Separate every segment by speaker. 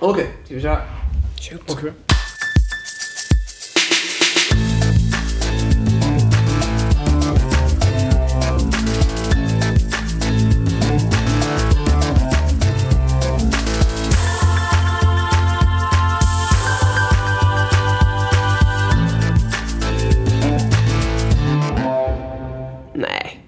Speaker 1: Okej, ska vi köra?
Speaker 2: Shoot.
Speaker 1: Nej.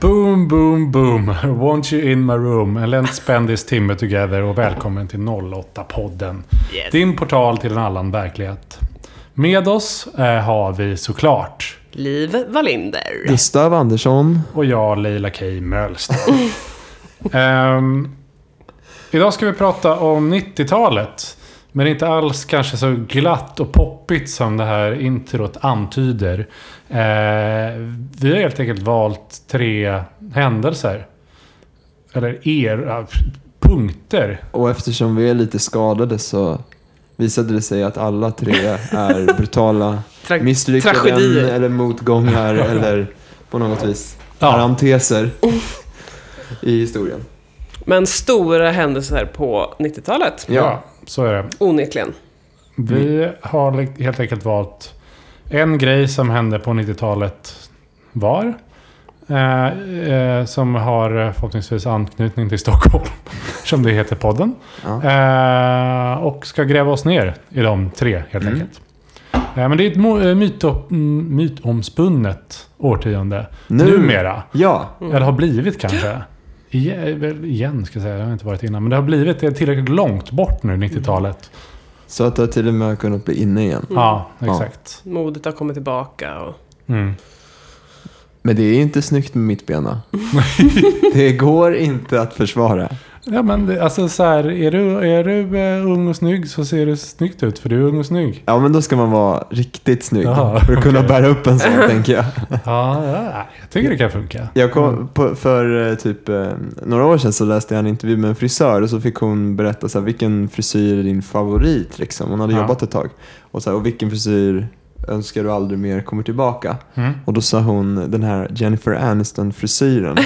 Speaker 3: Boom, boom, boom. Want you in my room and let's spend this timme together. Och välkommen till 08-podden.
Speaker 1: Yes.
Speaker 3: Din portal till en annan verklighet. Med oss eh, har vi såklart
Speaker 1: Liv Wallinder.
Speaker 2: Gustav Andersson.
Speaker 3: och jag Leila K. Mölstad. Ehm, idag ska vi prata om 90-talet. Men inte alls kanske så glatt och poppigt som det här introt antyder. Eh, vi har helt enkelt valt tre händelser. Eller er, ja, punkter.
Speaker 2: Och eftersom vi är lite skadade så visade det sig att alla tre är brutala
Speaker 1: Tra-
Speaker 2: misslyckanden
Speaker 1: tragedier.
Speaker 2: eller motgångar eller på något vis
Speaker 3: Ja,
Speaker 2: parenteser i historien.
Speaker 1: Men stora händelser på 90-talet.
Speaker 3: ja, så är det.
Speaker 1: Onekligen.
Speaker 3: Vi
Speaker 2: Mm.
Speaker 3: har li- helt enkelt valt en grej som hände på 90-talet var. Eh, eh, som har eh, förhoppningsvis anknytning till Stockholm. som det heter podden.
Speaker 2: Ja.
Speaker 3: Eh, och ska gräva oss ner i de tre helt
Speaker 2: Mm.
Speaker 3: enkelt. Eh, men det är ett mo- eh, myto- mm, mytomspunnet årtionde.
Speaker 2: Nu.
Speaker 3: Numera.
Speaker 2: Ja,
Speaker 3: Eller har blivit kanske. Igen, väl, igen ska jag säga, det har inte varit innan. Men det har blivit det är tillräckligt långt bort nu, 90-talet.
Speaker 2: så att det har till och med kunnat bli inne igen.
Speaker 3: Ja, exakt.
Speaker 1: Modet har kommit tillbaka och...
Speaker 3: Mm.
Speaker 2: Men det är inte snyggt med mittbena. det går inte att försvara.
Speaker 3: Ja men det, alltså så här, är du, är du eh, ung och snygg så ser du snyggt ut för du är ung och snygg.
Speaker 2: Ja, men då ska man vara riktigt snygg
Speaker 3: Jaha,
Speaker 2: för att kunna
Speaker 3: okej.
Speaker 2: bära upp en sån, tänker jag.
Speaker 3: Ja, ja, jag tycker det kan funka.
Speaker 2: Jag
Speaker 3: Mm.
Speaker 2: kom på, för eh, typ eh, några år sedan så läste jag en intervju med en frisör och så fick hon berätta så här, vilken frisyr är din favorit liksom. Hon hade
Speaker 3: Ja.
Speaker 2: jobbat ett tag. Och, så här, och vilken frisyr önskar du aldrig mer kommer tillbaka?
Speaker 3: Mm.
Speaker 2: Och då sa hon den här Jennifer Aniston frisyren.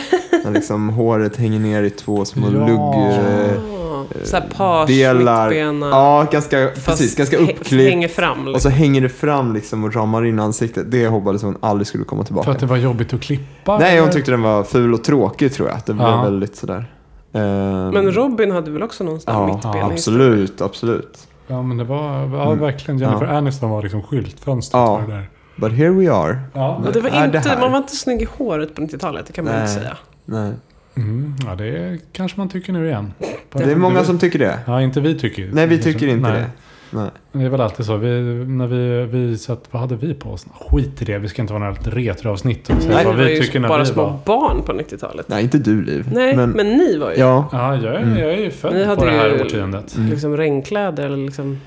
Speaker 2: när liksom håret hänger ner i två små
Speaker 3: Ja.
Speaker 2: lugg... eh,
Speaker 1: Oh, Såhär page,
Speaker 2: delar-
Speaker 1: mittbena.
Speaker 2: Ja, ganska, precis, ganska
Speaker 1: hä-
Speaker 2: uppklippt.
Speaker 1: Hänger fram.
Speaker 2: Och
Speaker 1: Liksom.
Speaker 2: så hänger det fram liksom och ramar in ansiktet. Det hoppades hon aldrig skulle komma tillbaka.
Speaker 3: För att det var jobbigt att klippa?
Speaker 2: Nej, hon
Speaker 3: eller?
Speaker 2: tyckte den var ful och tråkig tror jag. Det blev
Speaker 3: Ja.
Speaker 2: väldigt sådär. Ehm,
Speaker 1: Men Robin hade väl också någon sån här
Speaker 2: Ja,
Speaker 3: ja,
Speaker 1: mittben? liksom.
Speaker 2: Absolut, absolut.
Speaker 3: Ja men det var, ja,
Speaker 2: Mm.
Speaker 3: verkligen Jennifer
Speaker 2: Ja.
Speaker 3: Aniston var liksom skyltfönstret
Speaker 2: Ja.
Speaker 3: för det där.
Speaker 2: But here we are.
Speaker 3: Ja.
Speaker 1: Och det var
Speaker 2: Är det
Speaker 1: inte,
Speaker 2: här?
Speaker 1: man var inte snygg i håret på 90-talet, det kan man
Speaker 2: Nej.
Speaker 1: inte säga.
Speaker 2: Nej.
Speaker 3: Mm, ja det kanske man tycker nu igen.
Speaker 2: Det är många som tycker det.
Speaker 3: Ja, inte vi tycker ju-
Speaker 2: Nej, vi tycker inte
Speaker 3: Nej.
Speaker 2: det. Nej.
Speaker 3: Men Det är väl alltid så. Vi, när vi, vi satt, vad hade vi på oss? Skit i det, vi ska inte vara något retroavsnitt. och säga
Speaker 1: Nej,
Speaker 3: vad
Speaker 1: vi var ju
Speaker 3: tycker när
Speaker 1: bara
Speaker 3: vi
Speaker 1: små
Speaker 3: var.
Speaker 1: barn på 90-talet.
Speaker 2: Nej, inte du Liv.
Speaker 1: Nej, men, ni var ju
Speaker 2: Ja.
Speaker 3: Ja, jag, är-
Speaker 2: Mm.
Speaker 3: jag är ju
Speaker 1: Ni
Speaker 3: född
Speaker 1: hade
Speaker 3: på det
Speaker 1: ju-
Speaker 3: här årtiondet.
Speaker 2: Mm.
Speaker 1: liksom regnkläder eller liksom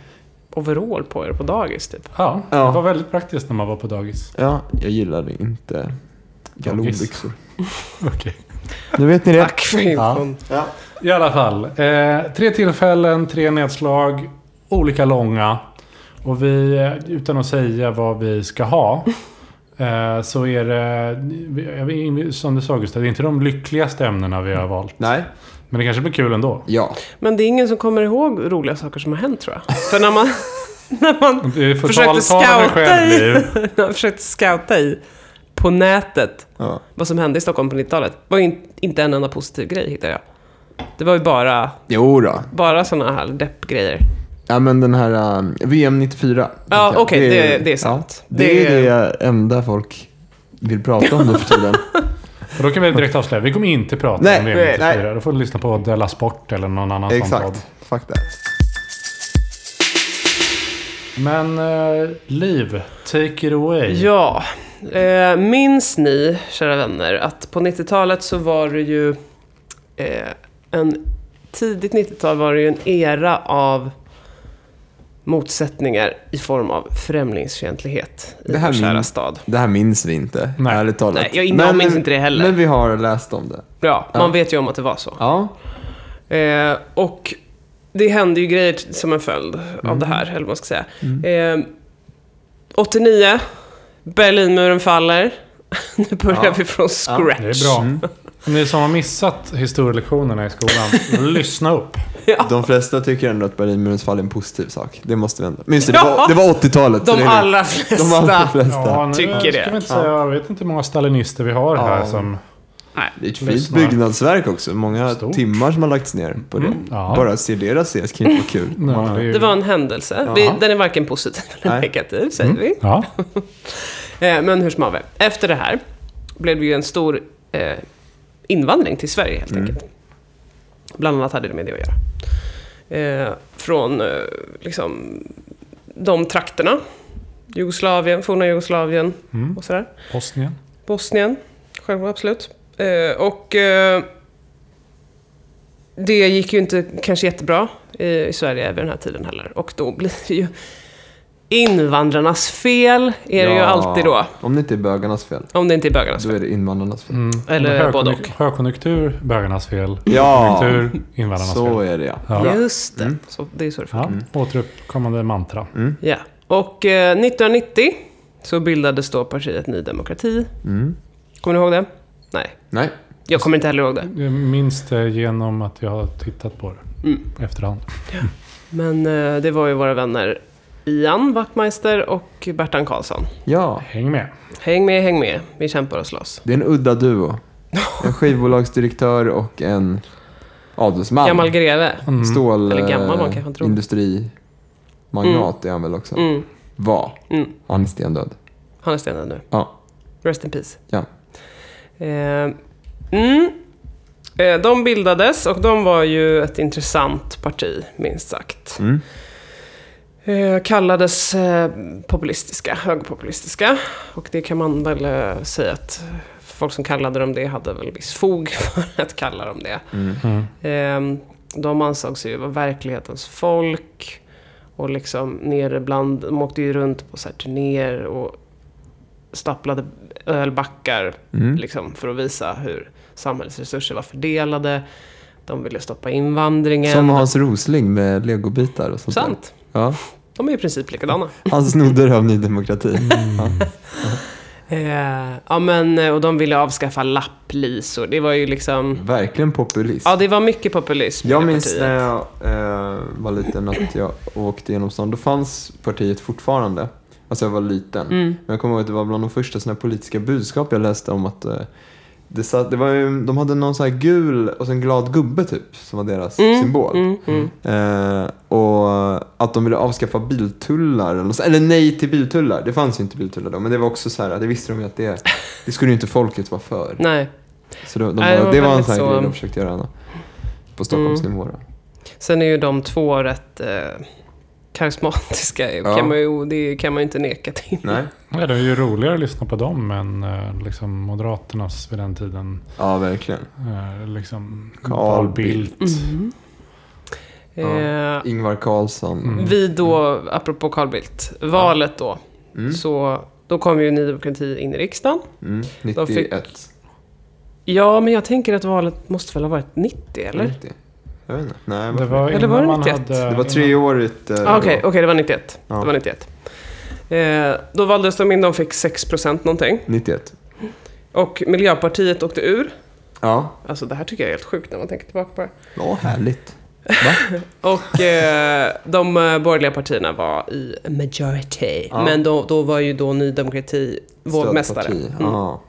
Speaker 1: overall på er på dagis typ.
Speaker 3: Ja,
Speaker 2: Ja.
Speaker 3: det var väldigt praktiskt när man var på dagis.
Speaker 2: ja, jag gillade inte galonbyxor.
Speaker 3: Okej.
Speaker 2: Nu vet ni det.
Speaker 1: Tack för infon.
Speaker 2: Ja.
Speaker 3: I alla fall. Eh, tre tillfällen, tre nedslag, olika långa. Och vi, eh, utan att säga vad vi ska ha, eh, så är det, vi- jag vet- som du sa Gustav, det är inte de lyckligaste ämnena vi har
Speaker 2: Mm.
Speaker 3: valt.
Speaker 2: Nej.
Speaker 3: Men det kanske blir kul ändå.
Speaker 2: Ja.
Speaker 1: Men det är ingen som kommer ihåg roliga saker som har hänt tror jag. För när man, när man,
Speaker 3: Du får
Speaker 1: Försökte
Speaker 3: taltala dig
Speaker 1: scouta
Speaker 3: själv
Speaker 1: i-
Speaker 3: Liv.
Speaker 1: när man försökte scouta i på nätet
Speaker 2: ja.
Speaker 1: vad som hände i Stockholm på 90-talet var ju in, inte en enda positiv grej hittade jag. Det var ju bara,
Speaker 2: Jo då.
Speaker 1: bara sådana här deppgrejer.
Speaker 2: Ja, men den här ehm, VM 94.
Speaker 1: Ja,
Speaker 2: tänker jag.
Speaker 1: okej, det, det är sant.
Speaker 2: Ja, det är det enda folk vill prata om nu för tiden.
Speaker 3: Och då kan vi direkt avslöja, vi kommer inte prata
Speaker 2: Nej,
Speaker 3: om
Speaker 2: nej,
Speaker 3: VM94.
Speaker 2: nej.
Speaker 3: Då får du lyssna på Della Sport eller någon annan sån podd.
Speaker 2: Exakt. Fuck that.
Speaker 3: Men eh, Liv, take it away.
Speaker 1: Ja, eh, minns ni, kära vänner, att på 90-talet så var det ju... Eh, en, tidigt 90-tal var det ju en era av motsättningar i form av främlingsfientlighet i
Speaker 2: Det här
Speaker 1: vår kära
Speaker 2: min-
Speaker 1: stad.
Speaker 2: Det här minns vi inte,
Speaker 3: Nej.
Speaker 2: ärligt talat.
Speaker 1: Nej, jag- jag minns inte det heller.
Speaker 2: Men vi har läst om det.
Speaker 1: Ja,
Speaker 2: Ja.
Speaker 1: man vet ju om att det var så.
Speaker 2: Ja,
Speaker 1: Eh, och
Speaker 2: Mm.
Speaker 1: det hände ju grejer t- som en följd av det här, eller vad man ska säga. Eh, 89, Berlinmuren faller. Nu börjar
Speaker 2: Ja.
Speaker 1: vi från scratch.
Speaker 3: Det är bra.
Speaker 2: Mm.
Speaker 3: Ni som har missat historielektionerna i skolan, lyssna upp.
Speaker 1: Ah.
Speaker 2: De flesta tycker ändå att Berlinmurens fall är en positiv sak. Det måste vi ändå. Minns du, det
Speaker 1: Ja.
Speaker 2: var, det var 80-talet. så
Speaker 1: De
Speaker 2: det är det.
Speaker 1: allra flesta.
Speaker 2: De allra flesta.
Speaker 3: nu
Speaker 1: Tycker
Speaker 3: ska
Speaker 1: det.
Speaker 3: Vi inte säga, jag vet inte hur många stalinister vi har här
Speaker 2: Ja.
Speaker 3: som...
Speaker 2: Det är ett fint
Speaker 3: Lyssna.
Speaker 2: byggnadsverk också. Många
Speaker 3: Stort. Mm.
Speaker 2: timmar som har lagts ner på det.
Speaker 3: ja.
Speaker 2: Bara att se deras ses kan ju inte vara kul.
Speaker 3: Ja, är ju-
Speaker 1: Det var en händelse. Vi,
Speaker 2: Jaha.
Speaker 1: den är varken positiv eller
Speaker 2: Nej. Mm.
Speaker 1: negativ, säger vi.
Speaker 3: Mm. Ja.
Speaker 1: Eh, Men hur som haver. Efter det här blev det ju en stor eh, invandring till Sverige helt
Speaker 2: Mm.
Speaker 1: enkelt. Bland annat hade det med det att göra. Eh, från eh, liksom, de trakterna. Jugoslavien, forna Jugoslavien
Speaker 3: Mm.
Speaker 1: och sådär.
Speaker 3: Bosnien.
Speaker 1: Bosnien, självklart, absolut. Eh, och eh, det gick ju inte kanske jättebra i, i Sverige vid den här tiden heller. Och då blir det ju invandrarnas fel, är det ju
Speaker 2: Ja,
Speaker 1: alltid då.
Speaker 2: Om det inte är bögarnas fel,
Speaker 1: Om det inte är bögarnas
Speaker 2: då är det invandrarnas fel.
Speaker 3: Mm.
Speaker 1: Eller
Speaker 3: Högkonjunk-
Speaker 1: både och.
Speaker 3: Högkonjunktur, bögarnas fel.
Speaker 2: Ja,
Speaker 3: Konjunktur, invandrarnas
Speaker 2: så
Speaker 3: Mm. fel.
Speaker 2: är det Mm. ja.
Speaker 3: Ja.
Speaker 1: fel. Just det. Mm.
Speaker 2: Mm.
Speaker 1: Så det är så det funkar.
Speaker 3: Ja, Återuppkommande mantra.
Speaker 1: Ja. Och eh, 1990 så bildades då partiet Ny Demokrati.
Speaker 2: Mm.
Speaker 1: Kommer ni ihåg det? Nej,
Speaker 2: Nej,
Speaker 1: jag kommer inte heller ihåg det.
Speaker 3: Jag minns det eh, genom att jag har tittat på det
Speaker 1: Mm.
Speaker 3: efterhand.
Speaker 1: Men eh, det var ju våra vänner Ian Wachtmeister och Bertan Karlsson.
Speaker 2: ja.
Speaker 3: Häng med.
Speaker 1: Häng med, häng med. Vi kämpar och slåss.
Speaker 2: Det är en udda duo. En skivbolagsdirektör och en adelsman.
Speaker 1: Gammal greve.
Speaker 3: Mm.
Speaker 2: Stål...
Speaker 1: Eller gammal, man
Speaker 2: eh,
Speaker 1: kanske tror.
Speaker 2: Industrimagnat är han väl också?
Speaker 1: Mm.
Speaker 2: Var.
Speaker 1: Mm.
Speaker 2: Han är stendöd.
Speaker 1: Han är stenad nu.
Speaker 2: Ja.
Speaker 1: Rest in peace.
Speaker 2: Ja.
Speaker 1: Eh, mm. eh, de bildades och de var ju ett intressant parti, minst sagt.
Speaker 2: Mm.
Speaker 1: Eh, kallades eh, populistiska, högerpopulistiska. Och det kan man väl eh, säga att folk som kallade dem det hade väl viss fog för att kalla dem det.
Speaker 3: Mm.
Speaker 1: Eh, de ansågs ju vara verklighetens folk. Och liksom nere bland, de åkte ju runt på så här turnéer och staplade ölbackar
Speaker 2: Mm.
Speaker 1: liksom, för att visa hur samhällets resurser var fördelade. De ville stoppa invandringen.
Speaker 2: Som Hans Rosling med legobitar och sånt där.
Speaker 1: Sant.
Speaker 2: Ja.
Speaker 1: De är i princip likadana.
Speaker 2: Han snodde av Ny Demokrati. Ja.
Speaker 1: Eh, ja, men, eh, och de ville avskaffa lapplisor. Det var ju liksom...
Speaker 2: Verkligen populist.
Speaker 1: Ja, det var mycket populism i
Speaker 2: Mm. Jag
Speaker 1: det
Speaker 2: minns
Speaker 1: partiet.
Speaker 2: när jag eh, var liten att jag åkte genom stan. Då fanns partiet fortfarande. Alltså jag var liten.
Speaker 1: Mm.
Speaker 2: Men jag kommer ihåg att det var bland de första såna här politiska budskap jag läste om att eh, det satt, det var ju, de hade någon sån här gul och så en glad gubbe typ som var deras symbol.
Speaker 1: Mm, mm.
Speaker 2: Eh, och att de ville avskaffa biltullar. Eller, något så- eller nej till biltullar. Det fanns ju inte biltullar då. Men det var också så här, det visste de ju att det, det skulle ju inte folket vara för.
Speaker 1: Nej.
Speaker 2: Så då, de
Speaker 1: Nej,
Speaker 2: bara,
Speaker 1: det
Speaker 2: det
Speaker 1: var
Speaker 2: var, en
Speaker 1: väldigt
Speaker 2: sån här
Speaker 1: så- Mm.
Speaker 2: grej de försökte göra Anna, på Stockholmsnivå. då.
Speaker 1: Sen är ju de två rätt eh, karismatiska.
Speaker 2: Ja.
Speaker 1: Kan man ju, det kan man ju inte neka till.
Speaker 2: Nej.
Speaker 3: Ja, det är ju roligare att lyssna på dem än eh, liksom Moderaternas vid den tiden.
Speaker 2: Ja, verkligen.
Speaker 3: Eh, Liksom
Speaker 2: Carl
Speaker 3: Carl Bildt.
Speaker 1: Mm. Eh,
Speaker 2: Ingvar Carlsson.
Speaker 1: Vi då, apropå Carl Bildt, valet då.
Speaker 2: Mm.
Speaker 1: Så då kom ju Ny Demokrati in i riksdagen.
Speaker 2: Mm.
Speaker 1: De
Speaker 2: 91.
Speaker 1: fick- Ja, men jag tänker att valet måste väl ha varit 90, eller?
Speaker 2: 90. Jag vet inte. Nej,
Speaker 3: Det
Speaker 2: varför?
Speaker 3: var,
Speaker 1: Eller var
Speaker 3: innan
Speaker 1: Mm. det
Speaker 3: man
Speaker 1: 91?
Speaker 3: hade-
Speaker 2: det var treårigt. eh,
Speaker 1: Ah, Okej, okej, det var 91.
Speaker 2: Ja.
Speaker 1: Det var 91. Eh, då valdes de in, de fick 6% någonting.
Speaker 2: 91.
Speaker 1: Och Miljöpartiet åkte ur.
Speaker 2: Ja.
Speaker 1: Alltså det här tycker jag är helt sjukt när man tänker tillbaka på det.
Speaker 2: Ja, härligt. Va?
Speaker 1: Och eh, de eh, borgerliga partierna var i majority.
Speaker 2: Ja.
Speaker 1: Men då, då var ju då Ny Demokrati vågmästare.
Speaker 2: Stödparti.
Speaker 1: Mm.
Speaker 2: Ja.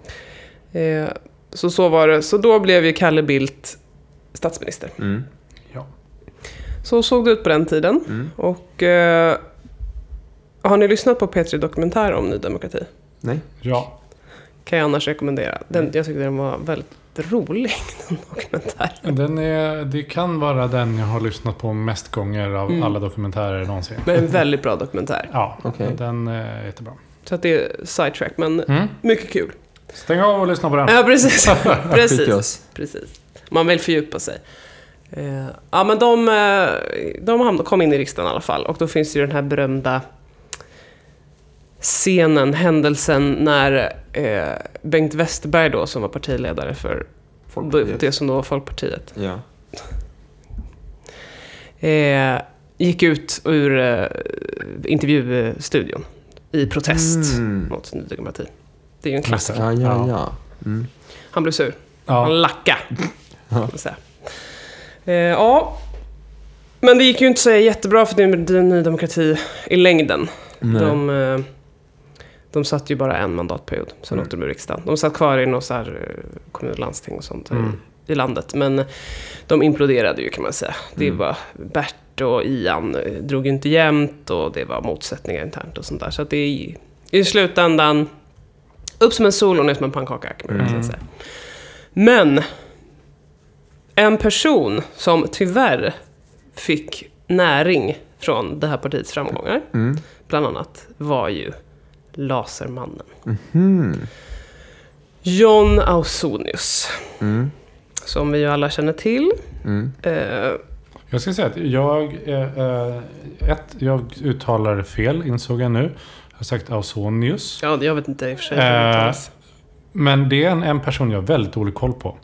Speaker 1: Eh, så så var det. Så då blev ju Kalle Bildt statsminister.
Speaker 2: Mm.
Speaker 3: Ja.
Speaker 1: Så såg det ut på den tiden.
Speaker 2: Mm.
Speaker 1: Och eh, har ni lyssnat på P3 Dokumentär om Ny Demokrati?
Speaker 2: Nej.
Speaker 3: ja.
Speaker 1: Kan jag annars rekommendera. Den, jag tyckte den var väldigt rolig, den dokumentären.
Speaker 3: Den är, det kan vara den jag har lyssnat på mest gånger av
Speaker 1: Mm.
Speaker 3: alla dokumentärer någonsin.
Speaker 1: Men en väldigt bra dokumentär.
Speaker 3: Ja,
Speaker 2: Okej.
Speaker 3: den är jättebra.
Speaker 1: Så att det är sidetrack, men
Speaker 3: Mm.
Speaker 1: mycket kul.
Speaker 3: Stäng av och lyssna på den.
Speaker 1: Ja, precis.
Speaker 2: Skit i
Speaker 1: precis.
Speaker 2: oss.
Speaker 1: precis. Man vill fördjupa sig. Eh, ja, men de, eh, de hamn- kom in i riksdagen i alla fall och då finns ju den här berömda scenen, händelsen när eh, Bengt Westerberg då, som var partiledare för
Speaker 2: Folkpartiet.
Speaker 1: det som då var Folkpartiet,
Speaker 2: Ja.
Speaker 1: eh, gick ut ur eh, intervjustudion i protest
Speaker 2: Mm.
Speaker 1: mot Ny Demokrati. Det är ju en klassiker.
Speaker 2: Ja, ja, ja. Mm.
Speaker 1: Han blev sur.
Speaker 3: Ja.
Speaker 1: Han lackade.
Speaker 2: Ja.
Speaker 1: Så här. Eh, ja. Men det gick ju inte så jättebra för din, din Ny Demokrati i längden.
Speaker 2: Nej.
Speaker 1: De, eh, de satt ju bara en mandatperiod, sen
Speaker 2: Mm.
Speaker 1: åkte de ur riksdagen. De satt kvar i något så här eh, kommun och landsting och sånt
Speaker 2: Mm.
Speaker 1: i, i landet. Men eh, de imploderade ju kan man säga. Det
Speaker 2: Mm.
Speaker 1: var Bert och Ian eh, drog ju inte jämnt och det var motsättningar internt och sånt där. Så att det är i slutändan upp som en sol och ner som en pannkaka kan man verkligen
Speaker 2: Mm.
Speaker 1: säga. Men en person som tyvärr fick näring från det här partiets framgångar
Speaker 2: Mm.
Speaker 1: bland annat var ju Lasermannen.
Speaker 2: Mhm.
Speaker 1: John Ausonius,
Speaker 2: Mm.
Speaker 1: som vi ju alla känner till.
Speaker 2: Mm.
Speaker 1: Eh,
Speaker 3: Jag ska säga att jag... eh, eh, Ett, jag uttalar det fel insåg jag nu. Jag har sagt Ausonius.
Speaker 1: ja, jag vet inte i och för sig. hur det
Speaker 3: Eh,
Speaker 1: uttalas.
Speaker 3: men det är en, en person jag har väldigt dålig koll på.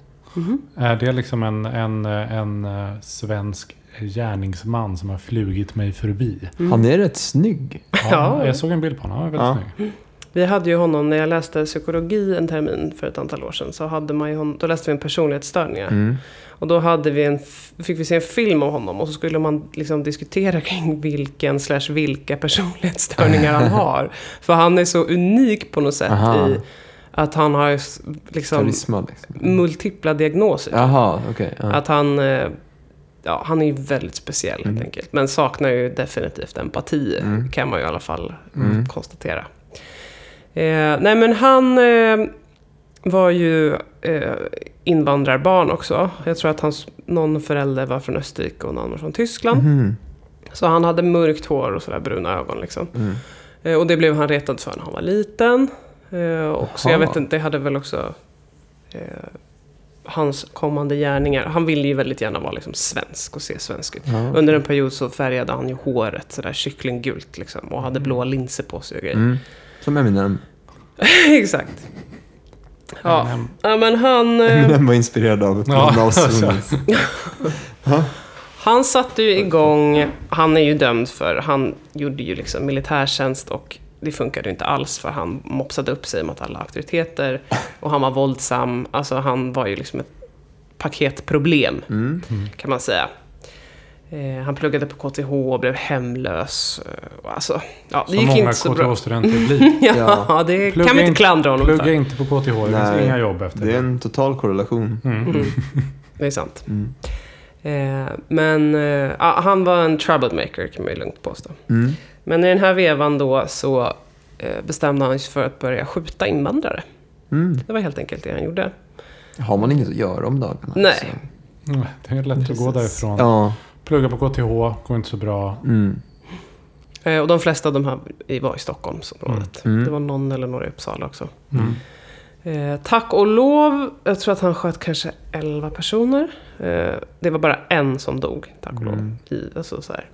Speaker 3: Eh, det är liksom en, en, eh, en eh, svensk gärningsman som har flugit mig förbi.
Speaker 2: Mm. Han är rätt snygg.
Speaker 3: Ja, jag såg en bild på honom. Han var väldigt
Speaker 2: Ja.
Speaker 3: snygg.
Speaker 1: Vi hade ju honom, när jag läste psykologi en termin för ett antal år sedan, så hade man ju hon, då läste vi en personlighetsstörningar.
Speaker 2: Mm.
Speaker 1: Och då hade vi en, f- fick vi se en film av honom och så skulle man liksom diskutera kring vilken slash vilka personlighetsstörningar han har. För han är så unik på något sätt
Speaker 2: Aha.
Speaker 1: i att han har ju s- liksom
Speaker 2: Karisma liksom.
Speaker 1: multipla diagnoser.
Speaker 2: Jaha, okej. ja.
Speaker 1: Att han, eh, ja, han är ju väldigt speciell helt
Speaker 2: Mm.
Speaker 1: enkelt. Men saknar ju definitivt empati,
Speaker 2: Mm.
Speaker 1: kan man ju i alla fall
Speaker 2: Mm.
Speaker 1: konstatera. Eh, nej men han eh, var ju eh, invandrarbarn också. Jag tror att hans, någon förälder var från Österrike och någon var från Tyskland.
Speaker 2: Mhm.
Speaker 1: Så han hade mörkt hår och sådär bruna ögon liksom.
Speaker 2: Mm.
Speaker 1: Eh, och det blev han retad för när han var liten. Eh, och så jag
Speaker 2: Jaha.
Speaker 1: vet inte, det hade väl också eh, hans kommande gärningar. Han ville ju väldigt gärna vara liksom svensk och se svensk ut.
Speaker 2: Ja.
Speaker 1: Under en period så färgade han ju håret sådär kycklinggult liksom och hade blåa linser på sig och grejer.
Speaker 2: Mm. Som Eminem.
Speaker 1: Exakt. Ja.
Speaker 2: Mm.
Speaker 3: Eminem.
Speaker 1: ja, men han... Eh,
Speaker 2: Eminem var inspirerad av
Speaker 3: Ja,
Speaker 2: Bruno Mm.
Speaker 3: så.
Speaker 2: Ausonius.
Speaker 1: Han satte ju igång, han är ju dömd för, han gjorde ju liksom militärtjänst och det funkade ju inte alls för han mopsade upp sig mot alla auktoriteter och han var våldsam, alltså han var ju liksom ett paketproblem
Speaker 2: Mm.
Speaker 1: kan man säga. Eh, han pluggade på KTH och blev hemlös. eh, och Alltså, ja, det
Speaker 3: Som
Speaker 1: gick
Speaker 3: många
Speaker 1: inte så bra.
Speaker 3: KTH-studenter blir.
Speaker 1: Ja, det
Speaker 3: Plugga
Speaker 1: kan vi
Speaker 3: in-
Speaker 1: inte klandra honom
Speaker 3: Plugga
Speaker 1: för.
Speaker 3: inte på KTH, det finns
Speaker 2: Nej.
Speaker 3: inga jobb efter
Speaker 2: Det är
Speaker 3: det.
Speaker 2: en total korrelation.
Speaker 1: Mm, det är sant.
Speaker 2: Mm.
Speaker 1: Eh, men eh, ja, han var en troublemaker kan man ju lugnt påstå.
Speaker 2: Mm.
Speaker 1: Men i den här vevan då så eh, bestämde han sig för att börja skjuta invandrare.
Speaker 2: Mm.
Speaker 1: Det var helt enkelt det han gjorde.
Speaker 2: Har man inget att göra om dagarna? liksom?
Speaker 1: Nej.
Speaker 2: så-
Speaker 3: Mm, Det är lätt att gå
Speaker 1: Precis.
Speaker 3: därifrån.
Speaker 2: Ja.
Speaker 3: Plugga på KTH, går inte så bra.
Speaker 2: Mm.
Speaker 1: Eh, och de flesta av de här i- var i Stockholmsområdet.
Speaker 2: Mm. Mm.
Speaker 1: Det var någon eller några i Uppsala också.
Speaker 3: Mm.
Speaker 1: Eh, tack och lov, jag tror att han sköt kanske 11 personer. Eh, det var bara en som dog, tack och lov.
Speaker 2: Mm.
Speaker 1: I, alltså, så här.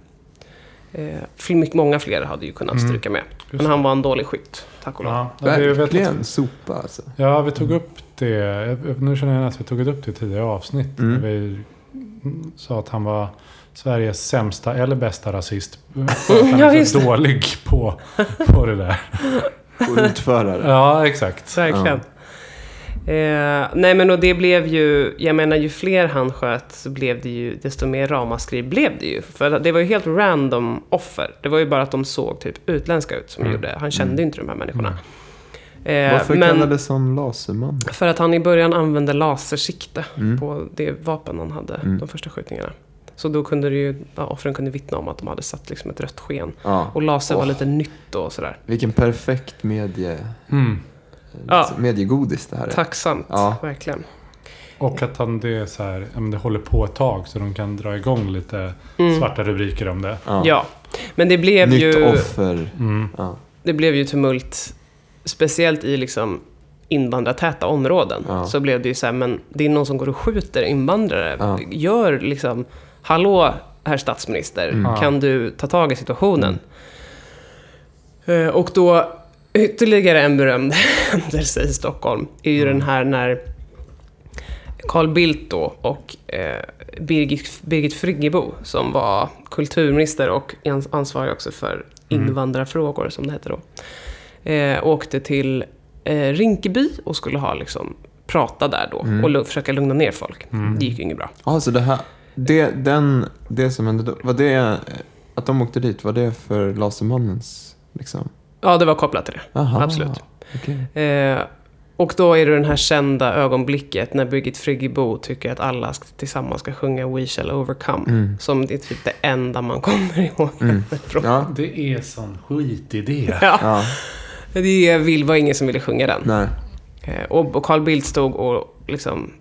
Speaker 1: Eh, fl- mycket- många fler hade ju kunnat
Speaker 3: Mm.
Speaker 1: stryka med.
Speaker 3: Just
Speaker 1: Men han var en dålig skytt, tack och lov.
Speaker 3: Ja, det är ju väldigt-
Speaker 2: Verkligen sopa alltså.
Speaker 3: Ja, vi tog
Speaker 1: Mm.
Speaker 3: upp det. Nu känner jag att vi tog upp det i tidigare avsnitt.
Speaker 2: Mm.
Speaker 3: När vi sa att han var Sveriges sämsta eller bästa rasist. För att han
Speaker 1: Ja,
Speaker 3: är
Speaker 1: just
Speaker 3: så
Speaker 1: det.
Speaker 3: dålig på, på det där.
Speaker 2: Och utförare.
Speaker 3: Ja, exakt.
Speaker 1: Verkligen. Eh, nej men och det blev ju, jag menar ju fler han sköt så blev det ju, desto mer ramaskri blev det ju. För det var ju helt random offer. Det var ju bara att de såg typ utländska ut som
Speaker 3: Mm.
Speaker 1: gjorde, han kände ju inte de här människorna. Eh,
Speaker 2: Mm. Varför
Speaker 1: men
Speaker 2: kallades han Laserman?
Speaker 1: för att han i början använde lasersikte
Speaker 2: Mm.
Speaker 1: på det vapen han hade,
Speaker 2: Mm.
Speaker 1: de första skjutningarna. Så då kunde det ju, ja, offren kunde vittna om att de hade satt liksom ett rött sken.
Speaker 2: Ja.
Speaker 1: Och laser var
Speaker 2: Åh.
Speaker 1: lite nytt då och sådär.
Speaker 2: Vilken perfekt medie... liksom,
Speaker 3: Mm.
Speaker 1: Ja.
Speaker 2: mediegodis det här är.
Speaker 1: Tacksamt,
Speaker 2: Eh, Ja.
Speaker 1: verkligen.
Speaker 3: Och att han, det, är så här, ja, men det håller på ett tag så de kan dra igång lite
Speaker 1: Mm.
Speaker 3: svarta rubriker om det.
Speaker 2: Ja.
Speaker 1: Ja, men det blev
Speaker 2: Nytt
Speaker 1: ju...
Speaker 2: offer.
Speaker 3: Mm.
Speaker 2: Ja.
Speaker 1: det blev ju tumult, speciellt i liksom invandrartäta områden.
Speaker 2: Ja.
Speaker 1: Så blev det ju så här, men det är någon som går och skjuter invandrare.
Speaker 2: Ja.
Speaker 1: Gör liksom, hallå herr statsminister,
Speaker 3: Mm.
Speaker 1: kan du ta tag i situationen?
Speaker 3: Mm.
Speaker 1: Eh, Och då, ytterligare en berömd händelse i Stockholm, är ju
Speaker 3: Mm.
Speaker 1: den här när Carl Bildt då och eh, Birgit, Birgit Friggebo som var kulturminister och ans- ansvarig också för
Speaker 3: Mm.
Speaker 1: invandrarfrågor som det hette då. Eh, åkte till eh, Rinkeby och skulle ha liksom prata där då
Speaker 2: Mm.
Speaker 1: och lu- försöka lugna ner folk.
Speaker 3: Mm.
Speaker 1: Det gick ju inget bra.
Speaker 2: Ja, så det här, det, den, det som hände då, var det, eh, att de åkte dit, var det för Lasermannens, liksom?
Speaker 1: Ja, det var kopplat till det.
Speaker 2: Aha,
Speaker 1: Absolut.
Speaker 2: okej.
Speaker 1: Eh, och då är det den här kända ögonblicket när Birgit Friggebo tycker att alla ska, tillsammans ska sjunga We shall overcome.
Speaker 2: Mm.
Speaker 1: Som det är typ det enda man kommer ihåg.
Speaker 2: Mm.
Speaker 1: Från.
Speaker 2: Ja,
Speaker 3: Det är sån skitidé.
Speaker 1: Ja,
Speaker 2: ja,
Speaker 1: det vill- var ingen som ville sjunga den.
Speaker 2: nej.
Speaker 1: Eh, Och och Carl Bildt stod och liksom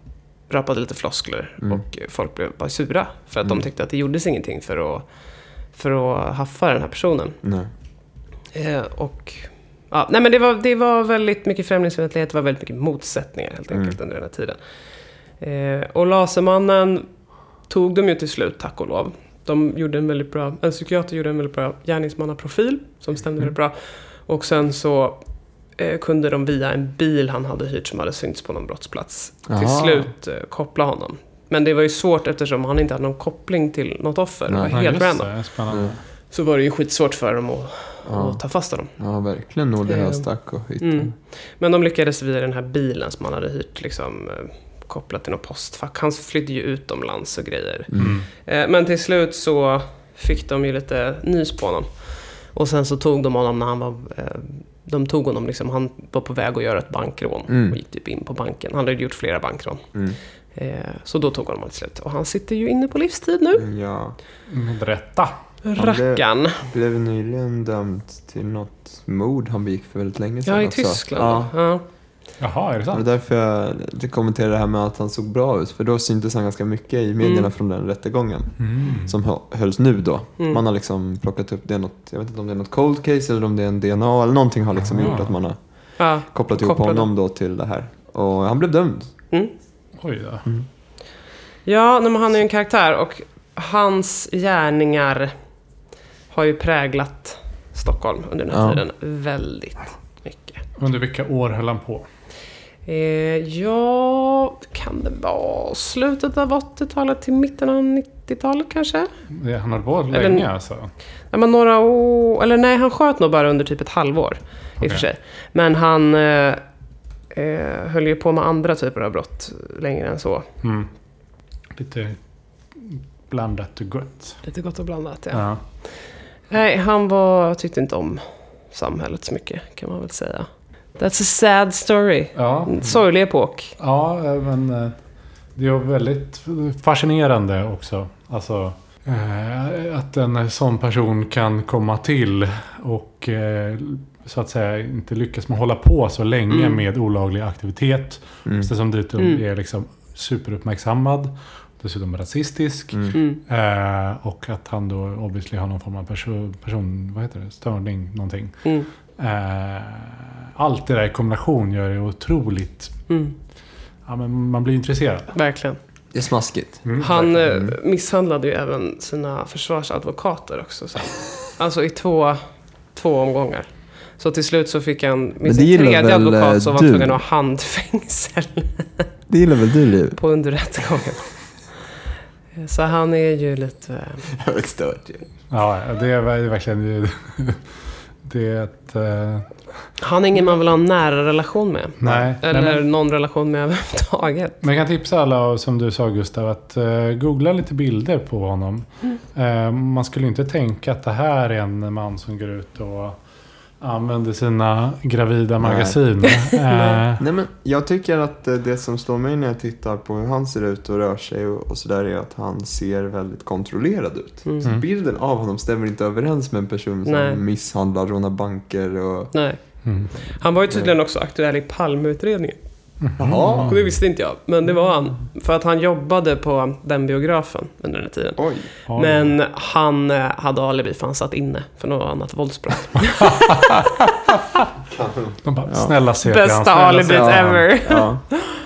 Speaker 1: rappade lite floskler
Speaker 2: Mm.
Speaker 1: och folk blev bara sura för att de tyckte att det gjordes ingenting för att, för att haffa den här personen.
Speaker 2: nej.
Speaker 1: Eh, Och, ja, nej men det, var, det var väldigt mycket främlingsfientlighet, det var väldigt mycket motsättningar helt enkelt under den här tiden. Eh, Och Lasermannen tog de ju till slut, tack och lov. De gjorde en väldigt bra, en psykiater gjorde en väldigt bra gärningsmannaprofil som stämde väldigt bra. Och sen så eh, kunde de via en bil han hade hyrt som hade synts på någon brottsplats till
Speaker 2: Aha.
Speaker 1: slut eh, koppla honom. Men det var ju svårt eftersom han inte hade någon koppling till något offer. Det var
Speaker 2: Nej.
Speaker 3: Ja,
Speaker 1: helt
Speaker 3: just
Speaker 1: random.
Speaker 3: det. Spännande.
Speaker 2: Mm.
Speaker 1: Så var det ju skitsvårt för dem att,
Speaker 2: Ja.
Speaker 1: att ta fast honom.
Speaker 2: Ja, verkligen nådde
Speaker 1: Eh,
Speaker 2: höstack och hytten.
Speaker 1: Mm. Men de lyckades via den här bilen som han hade hyrt liksom, eh, kopplat till något postfack. Han flydde ju utomlands och grejer.
Speaker 3: Mm.
Speaker 1: Eh, Men till slut så fick de ju lite nys på honom. Och sen så tog de honom när han var... eh, De tog honom liksom, han var på väg att göra ett bankrån
Speaker 2: Mm.
Speaker 1: och gick typ in på banken. Han hade gjort flera bankrån.
Speaker 2: Mm.
Speaker 1: Eh, Så då tog honom till slut. Och han sitter ju inne på livstid nu.
Speaker 2: Mm. Ja,
Speaker 3: Med Mm. rätta.
Speaker 2: det-
Speaker 1: Rackarn.
Speaker 2: blev nyligen dömd till något mord han begick för väldigt länge sedan
Speaker 1: Ja, i
Speaker 2: också.
Speaker 1: Tyskland.
Speaker 2: alltså. Ja,
Speaker 1: Ja.
Speaker 3: Jaha, är det
Speaker 2: det var
Speaker 3: sant?
Speaker 2: därför jag lite kommenterade det här med att han såg bra ut. För då syntes han ganska mycket i medierna
Speaker 1: Mm.
Speaker 2: från den rättegången.
Speaker 3: Mm.
Speaker 2: Som hö- hölls nu då.
Speaker 1: Mm.
Speaker 2: Man har liksom plockat upp, det är något, jag vet inte om det är något cold case eller om det är en DNA eller någonting har liksom
Speaker 3: Ah.
Speaker 2: gjort att man har
Speaker 1: Ja.
Speaker 2: kopplat ihop
Speaker 1: Kopplade.
Speaker 2: honom då till det här. Och han blev dömd.
Speaker 1: Mm.
Speaker 3: Oj då.
Speaker 1: Ja, nej, men han är ju en karaktär och hans gärningar har ju präglat Stockholm under den här
Speaker 2: Ja.
Speaker 1: tiden väldigt mycket.
Speaker 3: Under vilka år höll han på?
Speaker 1: Eh, ja, kan det vara slutet av 80-talet till mitten av 90-talet kanske?
Speaker 3: Det- Han höll på
Speaker 1: Eller-
Speaker 3: länge alltså.
Speaker 1: Nej, men några år... Eller nej, han sköt nog bara under typ ett halvår. I
Speaker 3: Okej.
Speaker 1: och för sig. Men han eh, eh, höll ju på med andra typer av brott längre än så.
Speaker 3: Mm. Lite blandat och gött.
Speaker 1: Lite gott och blandat, ja.
Speaker 3: Ja.
Speaker 1: Nej, han var, tyckte inte om samhället så mycket, kan man väl säga. That's a sad story.
Speaker 3: Ja.
Speaker 1: En Sorglig epok.
Speaker 3: Ja, eh, men eh, det är väldigt fascinerande också. Alltså, eh, att en sån person kan komma till och eh, så att säga inte lyckas med att hålla på så länge
Speaker 1: Mm.
Speaker 3: med olaglig aktivitet.
Speaker 2: Mm.
Speaker 3: Så som dessutom
Speaker 1: Mm.
Speaker 3: är liksom superuppmärksammad. Dessutom rasistisk.
Speaker 2: Mm.
Speaker 1: Mm.
Speaker 3: Eh, och att han då obviously har någon form av person, person vad heter det? störning, någonting.
Speaker 1: Mm.
Speaker 3: Eh, allt det där i kombination gör det otroligt...
Speaker 1: Mm.
Speaker 3: Ja, men man blir intresserad.
Speaker 1: Verkligen.
Speaker 2: Det är smaskigt.
Speaker 3: Mm,
Speaker 1: Han
Speaker 3: verkligen.
Speaker 1: eh, misshandlade ju även sina försvarsadvokater också. Så. Alltså i två, två omgångar. Så till slut så fick han
Speaker 2: Men
Speaker 1: med
Speaker 2: det
Speaker 1: sin
Speaker 2: gillar
Speaker 1: tredje
Speaker 2: väl, eh,
Speaker 1: advokat så var
Speaker 2: du?
Speaker 1: han tvungen att ha handfängsel
Speaker 2: Det gillar väl du Liv?
Speaker 1: på under rättegången. Så han är ju lite...
Speaker 2: Jag är stört ju.
Speaker 3: Ja, det är ver- verkligen... Det är ett... eh,
Speaker 1: Han är ingen man vill ha en nära relation med.
Speaker 3: nej.
Speaker 1: Eller
Speaker 3: nej men,
Speaker 1: någon relation med överhuvudtaget.
Speaker 3: men jag kan tipsa alla, som du sa Gustav, att eh, googla lite bilder på honom.
Speaker 1: Mm.
Speaker 3: Eh, man skulle inte tänka att det här är en man som går ut och använder sina gravida
Speaker 2: Nej.
Speaker 3: magasin. Eh,
Speaker 2: Nej, men jag tycker att eh, det som slår mig när jag tittar på hur han ser ut och rör sig och, och sådär är att han ser väldigt kontrollerad ut.
Speaker 1: Mm.
Speaker 2: Så bilden av honom stämmer inte överens med en person som
Speaker 1: Nej.
Speaker 2: misshandlar, rånar banker och...
Speaker 1: Nej.
Speaker 3: mm.
Speaker 1: Han var ju tydligen också aktuell i Palmeutredningen.
Speaker 2: Jaha!
Speaker 1: Och det visste inte jag, men det var han. För att han jobbade på den biografen under den här tiden.
Speaker 2: Oj!
Speaker 3: Ja,
Speaker 1: Men han eh, hade alibi för han satt inne för något annat våldsbrott.
Speaker 3: De bara, snälla se på han,
Speaker 1: Bästa
Speaker 3: snälla se
Speaker 1: alibit
Speaker 3: på han."
Speaker 1: ever.
Speaker 2: Ja.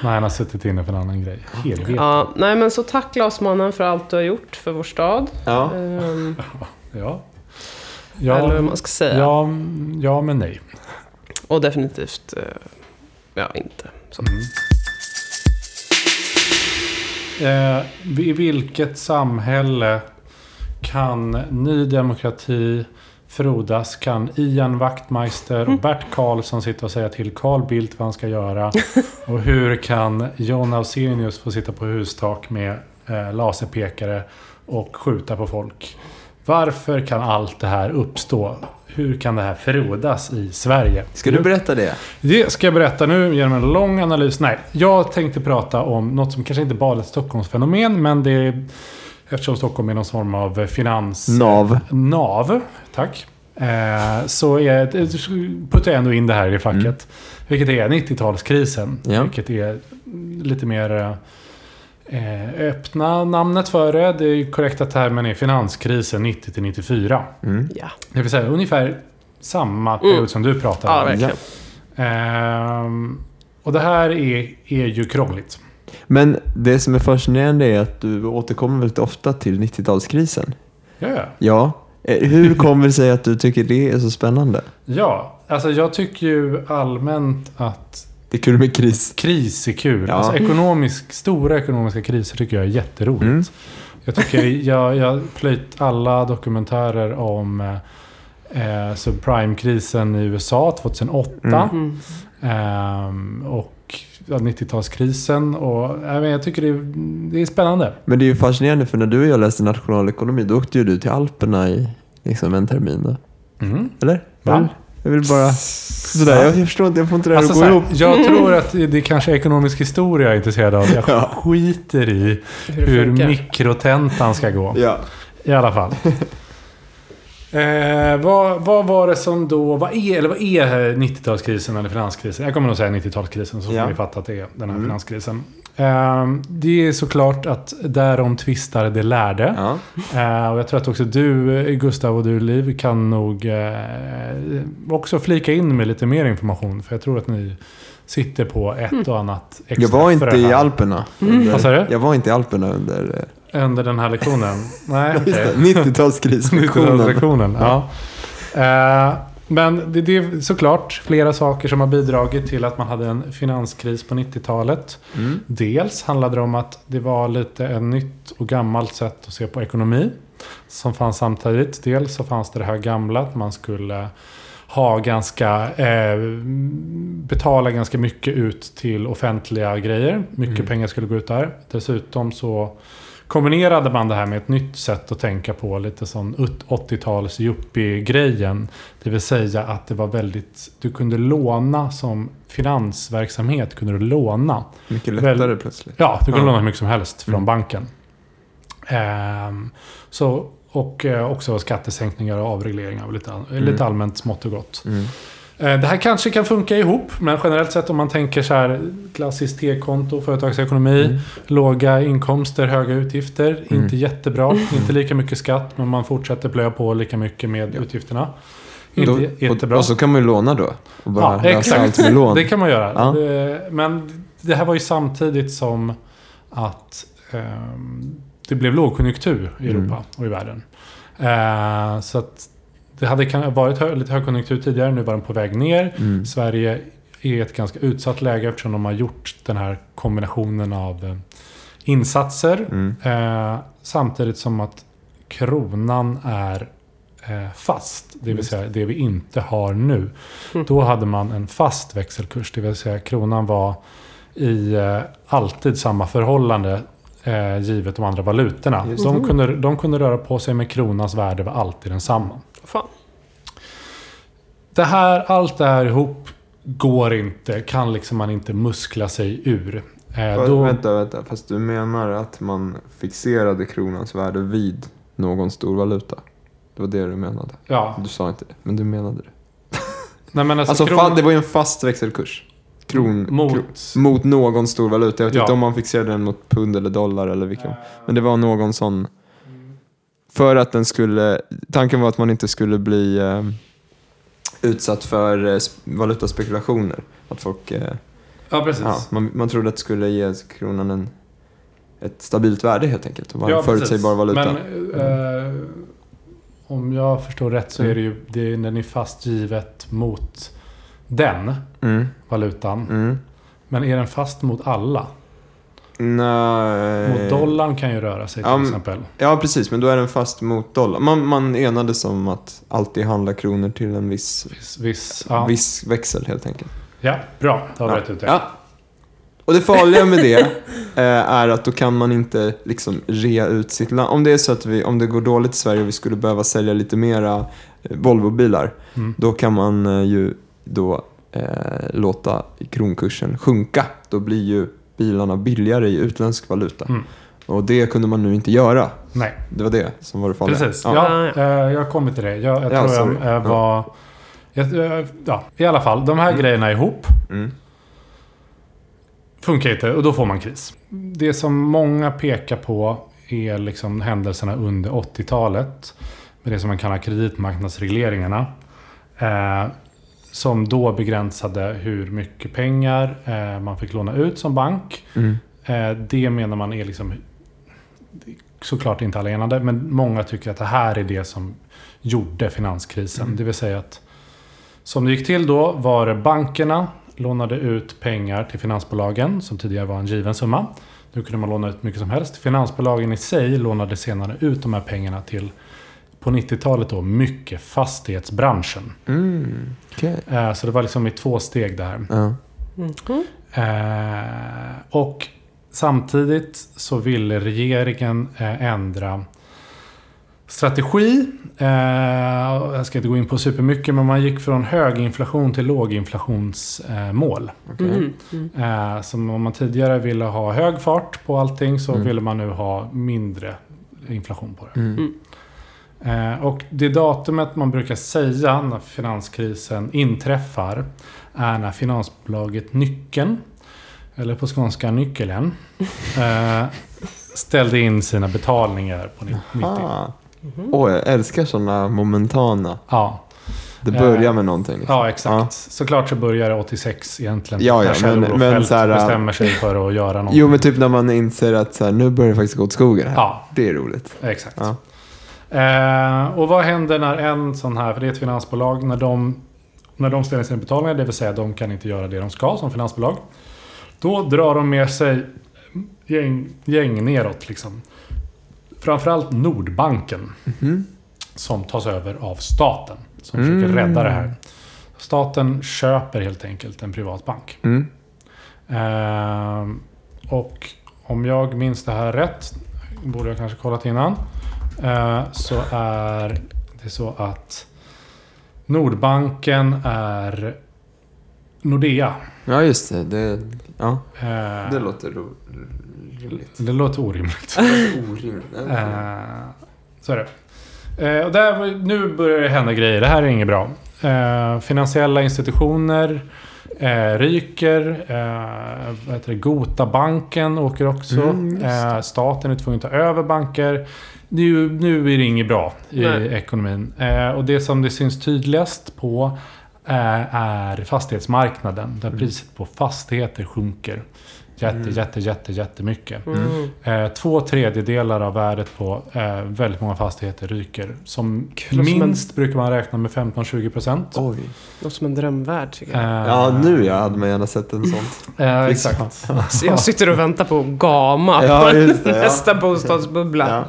Speaker 3: Nej, han har suttit inne för en annan grej. Helvete.
Speaker 1: Ja, nej men så tack Lasermannen för allt du har gjort för vår stad.
Speaker 2: ja.
Speaker 1: Ehm,
Speaker 3: Ja.
Speaker 1: Eller vad
Speaker 3: Ja,
Speaker 1: man ska säga.
Speaker 3: ja, mm, ja, men nej.
Speaker 1: Och definitivt, eh, ja inte. Så.
Speaker 3: Eh, I vilket samhälle kan Ny Demokrati frodas kan Ian Wachtmeister och Bert Karlsson sitta och säga till Carl Bildt vad han ska göra? Och hur kan John Ausenius få sitta på hustak med eh, laserpekare och skjuta på folk? Varför kan allt det här uppstå? Hur kan det här frodas i Sverige?
Speaker 2: Ska du berätta det?
Speaker 3: Det ska jag berätta nu genom en lång analys. Nej, jag tänkte prata om något som kanske inte bara är ett Stockholmsfenomen, men det är, eftersom Stockholm är någon form av finans...
Speaker 2: Nav.
Speaker 3: Nav, tack. Eh, så är, puttar jag ändå in det här i facket. Vilket är 90-talskrisen.
Speaker 2: Ja.
Speaker 3: Vilket är lite mer eh, öppna namnet för det. Det är korrekta termen är finanskrisen 90 till 94.
Speaker 2: Mm.
Speaker 1: Ja,
Speaker 3: Det vill säga ungefär samma period som du pratar
Speaker 1: ja
Speaker 3: om.
Speaker 1: verkligen.
Speaker 3: Ehm, och det här är, är ju krångligt.
Speaker 2: Men det som är fascinerande är att du återkommer väldigt ofta till 90-talskrisen.
Speaker 3: Ja, ja.
Speaker 2: Ja. Eh, Hur kommer det sig att du tycker det är så spännande?
Speaker 3: ja, alltså jag tycker ju allmänt att
Speaker 2: Det är kul med kris.
Speaker 3: kris är kul.
Speaker 2: Ja.
Speaker 3: Alltså ekonomisk, stora ekonomiska kriser tycker jag är jätteroligt.
Speaker 2: Mm.
Speaker 3: Jag tycker jag, jag plöjt alla dokumentärer om eh, eh, subprime-krisen i USA 2008.
Speaker 1: Mm.
Speaker 3: ehm, och ja, 90-talskrisen. Och, nej, men jag tycker det är, det är spännande.
Speaker 2: Men det är ju fascinerande för när du och jag läste nationalekonomi då åkte ju du till Alperna i liksom en termin. Då.
Speaker 3: Mm.
Speaker 2: Eller?
Speaker 3: Va?
Speaker 2: Jag vill- Jag vill bara... Sådär, jag, jag förstår inte, jag får inte det här
Speaker 3: Alltså,
Speaker 2: att
Speaker 3: så
Speaker 2: gå
Speaker 3: här,
Speaker 2: ihop. Mm.
Speaker 3: jag tror att det kanske är ekonomisk historia jag är intresserad av. Jag
Speaker 2: Ja.
Speaker 3: skiter i
Speaker 1: Hur,
Speaker 3: hur
Speaker 1: funkar?
Speaker 3: mikrotentan ska gå.
Speaker 2: Ja.
Speaker 3: I alla fall. Eh, vad, vad var det som då... Vad är, eller vad är här 90-talskrisen eller finanskrisen? Jag kommer nog säga 90-talskrisen så får
Speaker 2: Ja.
Speaker 3: ni fatta att det är den här
Speaker 2: Mm.
Speaker 3: finanskrisen. Eh, det är såklart att därom tvistar de lärde.
Speaker 2: Ja.
Speaker 3: Eh, och jag tror att också du, eh, Gustav och du, Liv, kan nog eh, också flika in med lite mer information. För jag tror att ni sitter på ett och annat extra
Speaker 2: Jag var inte
Speaker 3: frö
Speaker 2: i
Speaker 3: här Mm.
Speaker 2: Alperna. Under,
Speaker 3: Vad sa du?
Speaker 2: Jag var inte i Alperna under eh,
Speaker 3: Under den här lektionen. Nej,
Speaker 2: just det,
Speaker 3: okej.
Speaker 2: 90-talskrismissionen.
Speaker 3: Lektionen, ja. Eh, men det, det är såklart flera saker som har bidragit till att man hade en finanskris på 90-talet.
Speaker 2: Mm.
Speaker 3: Dels handlade det om att det var lite ett nytt och gammalt sätt att se på ekonomi. Som fanns samtidigt. Dels så fanns det det här gamla att man skulle ha ganska, eh, betala ganska mycket ut till offentliga grejer. Mycket
Speaker 2: Mm.
Speaker 3: pengar skulle gå ut där. Dessutom så kombinerade man det här med ett nytt sätt att tänka på. Lite sån 80-tals yuppie-grejen. Det vill säga att det var väldigt, du kunde låna som finansverksamhet kunde du låna.
Speaker 2: Mycket lättare plötsligt.
Speaker 3: Ja, du kan
Speaker 2: Ja.
Speaker 3: låna hur mycket som helst från
Speaker 2: Mm.
Speaker 3: banken. Ehm, så, och eh, också skattesänkningar och avregleringar. och Lite, all- lite allmänt smått och gott.
Speaker 2: Mm.
Speaker 3: Eh, Det här kanske kan funka ihop, men generellt sett om man tänker så här klassiskt T-konto, företagsekonomi,
Speaker 2: Mm.
Speaker 3: låga inkomster, höga utgifter,
Speaker 2: Mm.
Speaker 3: inte jättebra, inte lika mycket skatt, men man fortsätter plöja på lika mycket med
Speaker 2: Ja.
Speaker 3: utgifterna. Inte
Speaker 2: Då,
Speaker 3: jättebra.
Speaker 2: och, och så kan man ju låna då. Och bara
Speaker 3: Ja,
Speaker 2: lösa
Speaker 3: exakt.
Speaker 2: allt med lån.
Speaker 3: Det kan man göra.
Speaker 2: Ja.
Speaker 3: Det- Men det här var ju samtidigt som att ehm, det blev lågkonjunktur i
Speaker 2: Mm.
Speaker 3: Europa och i världen. Eh, så att det hade kan- varit hö- lite högkonjunktur tidigare, nu var den på väg ner.
Speaker 2: Mm.
Speaker 3: Sverige är i ett ganska utsatt läge eftersom de har gjort den här kombinationen av eh, insatser.
Speaker 2: Mm.
Speaker 3: Eh, samtidigt som att kronan är eh, fast, det vill
Speaker 2: Just. Mm.
Speaker 3: säga det vi inte har nu. Då hade man en fast växelkurs, det vill säga kronan var i eh, alltid samma förhållande eh, givet de andra valutorna.
Speaker 2: Just. Mm-hmm.
Speaker 3: De kunde, de kunde röra på sig men kronans värde var alltid densamma.
Speaker 1: Fan.
Speaker 3: Det här, allt det här ihop går inte, kan liksom man inte muskla sig ur. Eh,
Speaker 2: Fast-
Speaker 3: då,
Speaker 2: Vänta, vänta. Fast du menar att man fixerade kronans värde vid någon stor valuta? Det var det du menade.
Speaker 3: ja,
Speaker 2: Du sa inte det, men du menade det.
Speaker 3: nej men alltså,
Speaker 2: Alltså,
Speaker 3: kronan-
Speaker 2: fan, det var ju en fast växelkurs. Kron,
Speaker 3: mot...
Speaker 2: kron, mot någon stor valuta. Jag vet
Speaker 3: Ja.
Speaker 2: inte om man fixerade den mot pund eller dollar eller vilken. Men det var någon sån...
Speaker 3: Mm.
Speaker 2: För att den skulle... Tanken var att man inte skulle bli eh, utsatt för eh, sp- valutaspekulationer. Att folk... Eh,
Speaker 3: Ja, precis.
Speaker 2: Ja, man, man trodde att det skulle ge kronan en, ett stabilt värde helt enkelt. Och vara en förutsägbar
Speaker 3: precis.
Speaker 2: valuta.
Speaker 3: Men, eh, om jag förstår rätt så är
Speaker 2: Mm.
Speaker 3: det ju det är när ni är fast givet mot den
Speaker 2: Mm,
Speaker 3: valutan.
Speaker 2: mm.
Speaker 3: Men är den fast mot alla?
Speaker 2: Nej.
Speaker 3: Mot dollarn kan ju röra sig till
Speaker 2: Eh, Ja, men-
Speaker 3: exempel.
Speaker 2: Ja, precis. Men då är den fast mot dollar. Man, man enades om att alltid handla kronor till en viss,
Speaker 3: Viss, viss, ja.
Speaker 2: viss växel helt enkelt.
Speaker 3: ja, bra. Då har vi
Speaker 2: Ja.
Speaker 3: rätt ut det.
Speaker 2: Ja. Och det farliga med det eh, är att då kan man inte liksom rea ut sitt land. Om det är så att vi, om det går dåligt i Sverige och vi skulle behöva sälja lite mera eh, Volvobilar,
Speaker 3: Mm.
Speaker 2: då kan man eh, ju då eh, låta kronkursen sjunka. Då blir ju bilarna billigare i utländsk valuta.
Speaker 3: Mm.
Speaker 2: Och det kunde man nu inte göra.
Speaker 3: Nej,
Speaker 2: Det var det som var det farliga.
Speaker 3: precis.
Speaker 2: Ja.
Speaker 3: Ja.
Speaker 1: Ja.
Speaker 3: eh, jag kommer till det. Jag, jag
Speaker 2: Ja,
Speaker 3: tror
Speaker 2: sorry.
Speaker 3: jag eh,
Speaker 2: Ja.
Speaker 3: var... Jag, eh, ja, I alla fall, de här grejerna ihop
Speaker 2: Mm.
Speaker 3: funkar inte och då får man kris. Det som många pekar på är liksom händelserna under 80-talet. Med det som man kallar kreditmarknadsregleringarna. Eh, som då begränsade hur mycket pengar eh, man fick låna ut som bank.
Speaker 2: Mm.
Speaker 3: Eh, Det menar man är liksom det är såklart inte allenande, men många tycker att det här är det som gjorde finanskrisen. Det vill säga att som det gick till då var det bankerna lånade ut pengar till finansbolagen som tidigare var en given summa. Nu kunde man låna ut mycket som helst. Finansbolagen i sig lånade senare ut de här pengarna till på 90-talet då mycket fastighetsbranschen.
Speaker 2: Mm. Okej.
Speaker 3: Eh, Så det var liksom i två steg det här.
Speaker 2: Ja.
Speaker 1: Mm.
Speaker 3: Eh, och samtidigt så ville regeringen eh, ändra strategi. Eh, jag ska inte gå in på supermycket, men man gick från höginflation till låginflationsmål. Eh, mål.
Speaker 2: Okej.
Speaker 1: Mhm. Mm.
Speaker 3: eh, som om man tidigare ville ha hög fart på allting så
Speaker 2: Mm.
Speaker 3: ville man nu ha mindre inflation på det.
Speaker 2: Mm.
Speaker 3: Eh, Och det datumet man brukar säga när finanskrisen inträffar är när finansbolaget Nyckeln, eller på skånska Nyckelen, eh, ställde in sina betalningar på 90.
Speaker 2: Ah.
Speaker 1: Mm.
Speaker 2: Åh, jag älskar sådana momentana.
Speaker 3: Ja,
Speaker 2: Det börjar
Speaker 3: Eh,
Speaker 2: med någonting. liksom.
Speaker 3: ja, exakt. Såklart så börjar det 86 egentligen.
Speaker 2: Ja, ja,
Speaker 3: när
Speaker 2: men-
Speaker 3: Kjell-Olof
Speaker 2: men
Speaker 3: Feldt
Speaker 2: så här,
Speaker 3: bestämmer sig för att göra någonting.
Speaker 2: Jo, men typ när man inser att så här, nu börjar det faktiskt gå åt skogen här.
Speaker 3: Ja,
Speaker 2: Det är roligt.
Speaker 3: Exakt.
Speaker 2: Ja.
Speaker 3: Eh, och vad händer när en sån här, för det är ett finansbolag, när de, när de ställer sina betalningar, det vill säga de kan inte göra det de ska som finansbolag. Då drar de med sig gäng, gäng neråt. Liksom. Framförallt Nordbanken
Speaker 2: Mhm.
Speaker 3: som tas över av staten som
Speaker 2: Mm.
Speaker 3: försöker rädda det här. Staten köper helt enkelt en privat bank.
Speaker 2: Mm.
Speaker 3: Ehm, och om jag minns det här rätt, borde jag kanske kollat innan, eh, så är det så att Nordbanken är Nordea.
Speaker 2: Ja, just det. Det, ja.
Speaker 3: Eh,
Speaker 2: det låter ro- r- rimligt.
Speaker 3: det låter orimligt.
Speaker 2: Orimligt.
Speaker 3: Eh, så är det. Eh, och där, nu börjar det hända grejer. Det här är inget bra. Eh, finansiella institutioner eh, ryker. Eh, vad heter det? Gotabanken åker också.
Speaker 2: Mm, just
Speaker 3: eh, staten är tvungen att ta över banker. Nu, nu är det inget bra i
Speaker 1: Nej.
Speaker 3: ekonomin. Eh, och det som det syns tydligast på eh, är fastighetsmarknaden. Där priset på fastigheter sjunker. Jätte,
Speaker 2: Mm.
Speaker 3: jätte, jätte, jättemycket.
Speaker 1: Mm.
Speaker 3: Eh, två tredjedelar av värdet på eh, väldigt många fastigheter ryker. Som
Speaker 1: Kul, som
Speaker 3: minst brukar man räkna med 15-20%.
Speaker 2: Oj.
Speaker 1: Låter som en drömdvärld tycker
Speaker 3: Eh,
Speaker 1: jag.
Speaker 2: Ja, nu jag hade man gärna sett en sån.
Speaker 3: Eh, exakt.
Speaker 1: Så jag sitter och väntar på att gama
Speaker 2: Ja,
Speaker 1: på
Speaker 2: just det, ja.
Speaker 1: nästa bostadsbubbla.
Speaker 2: Ja.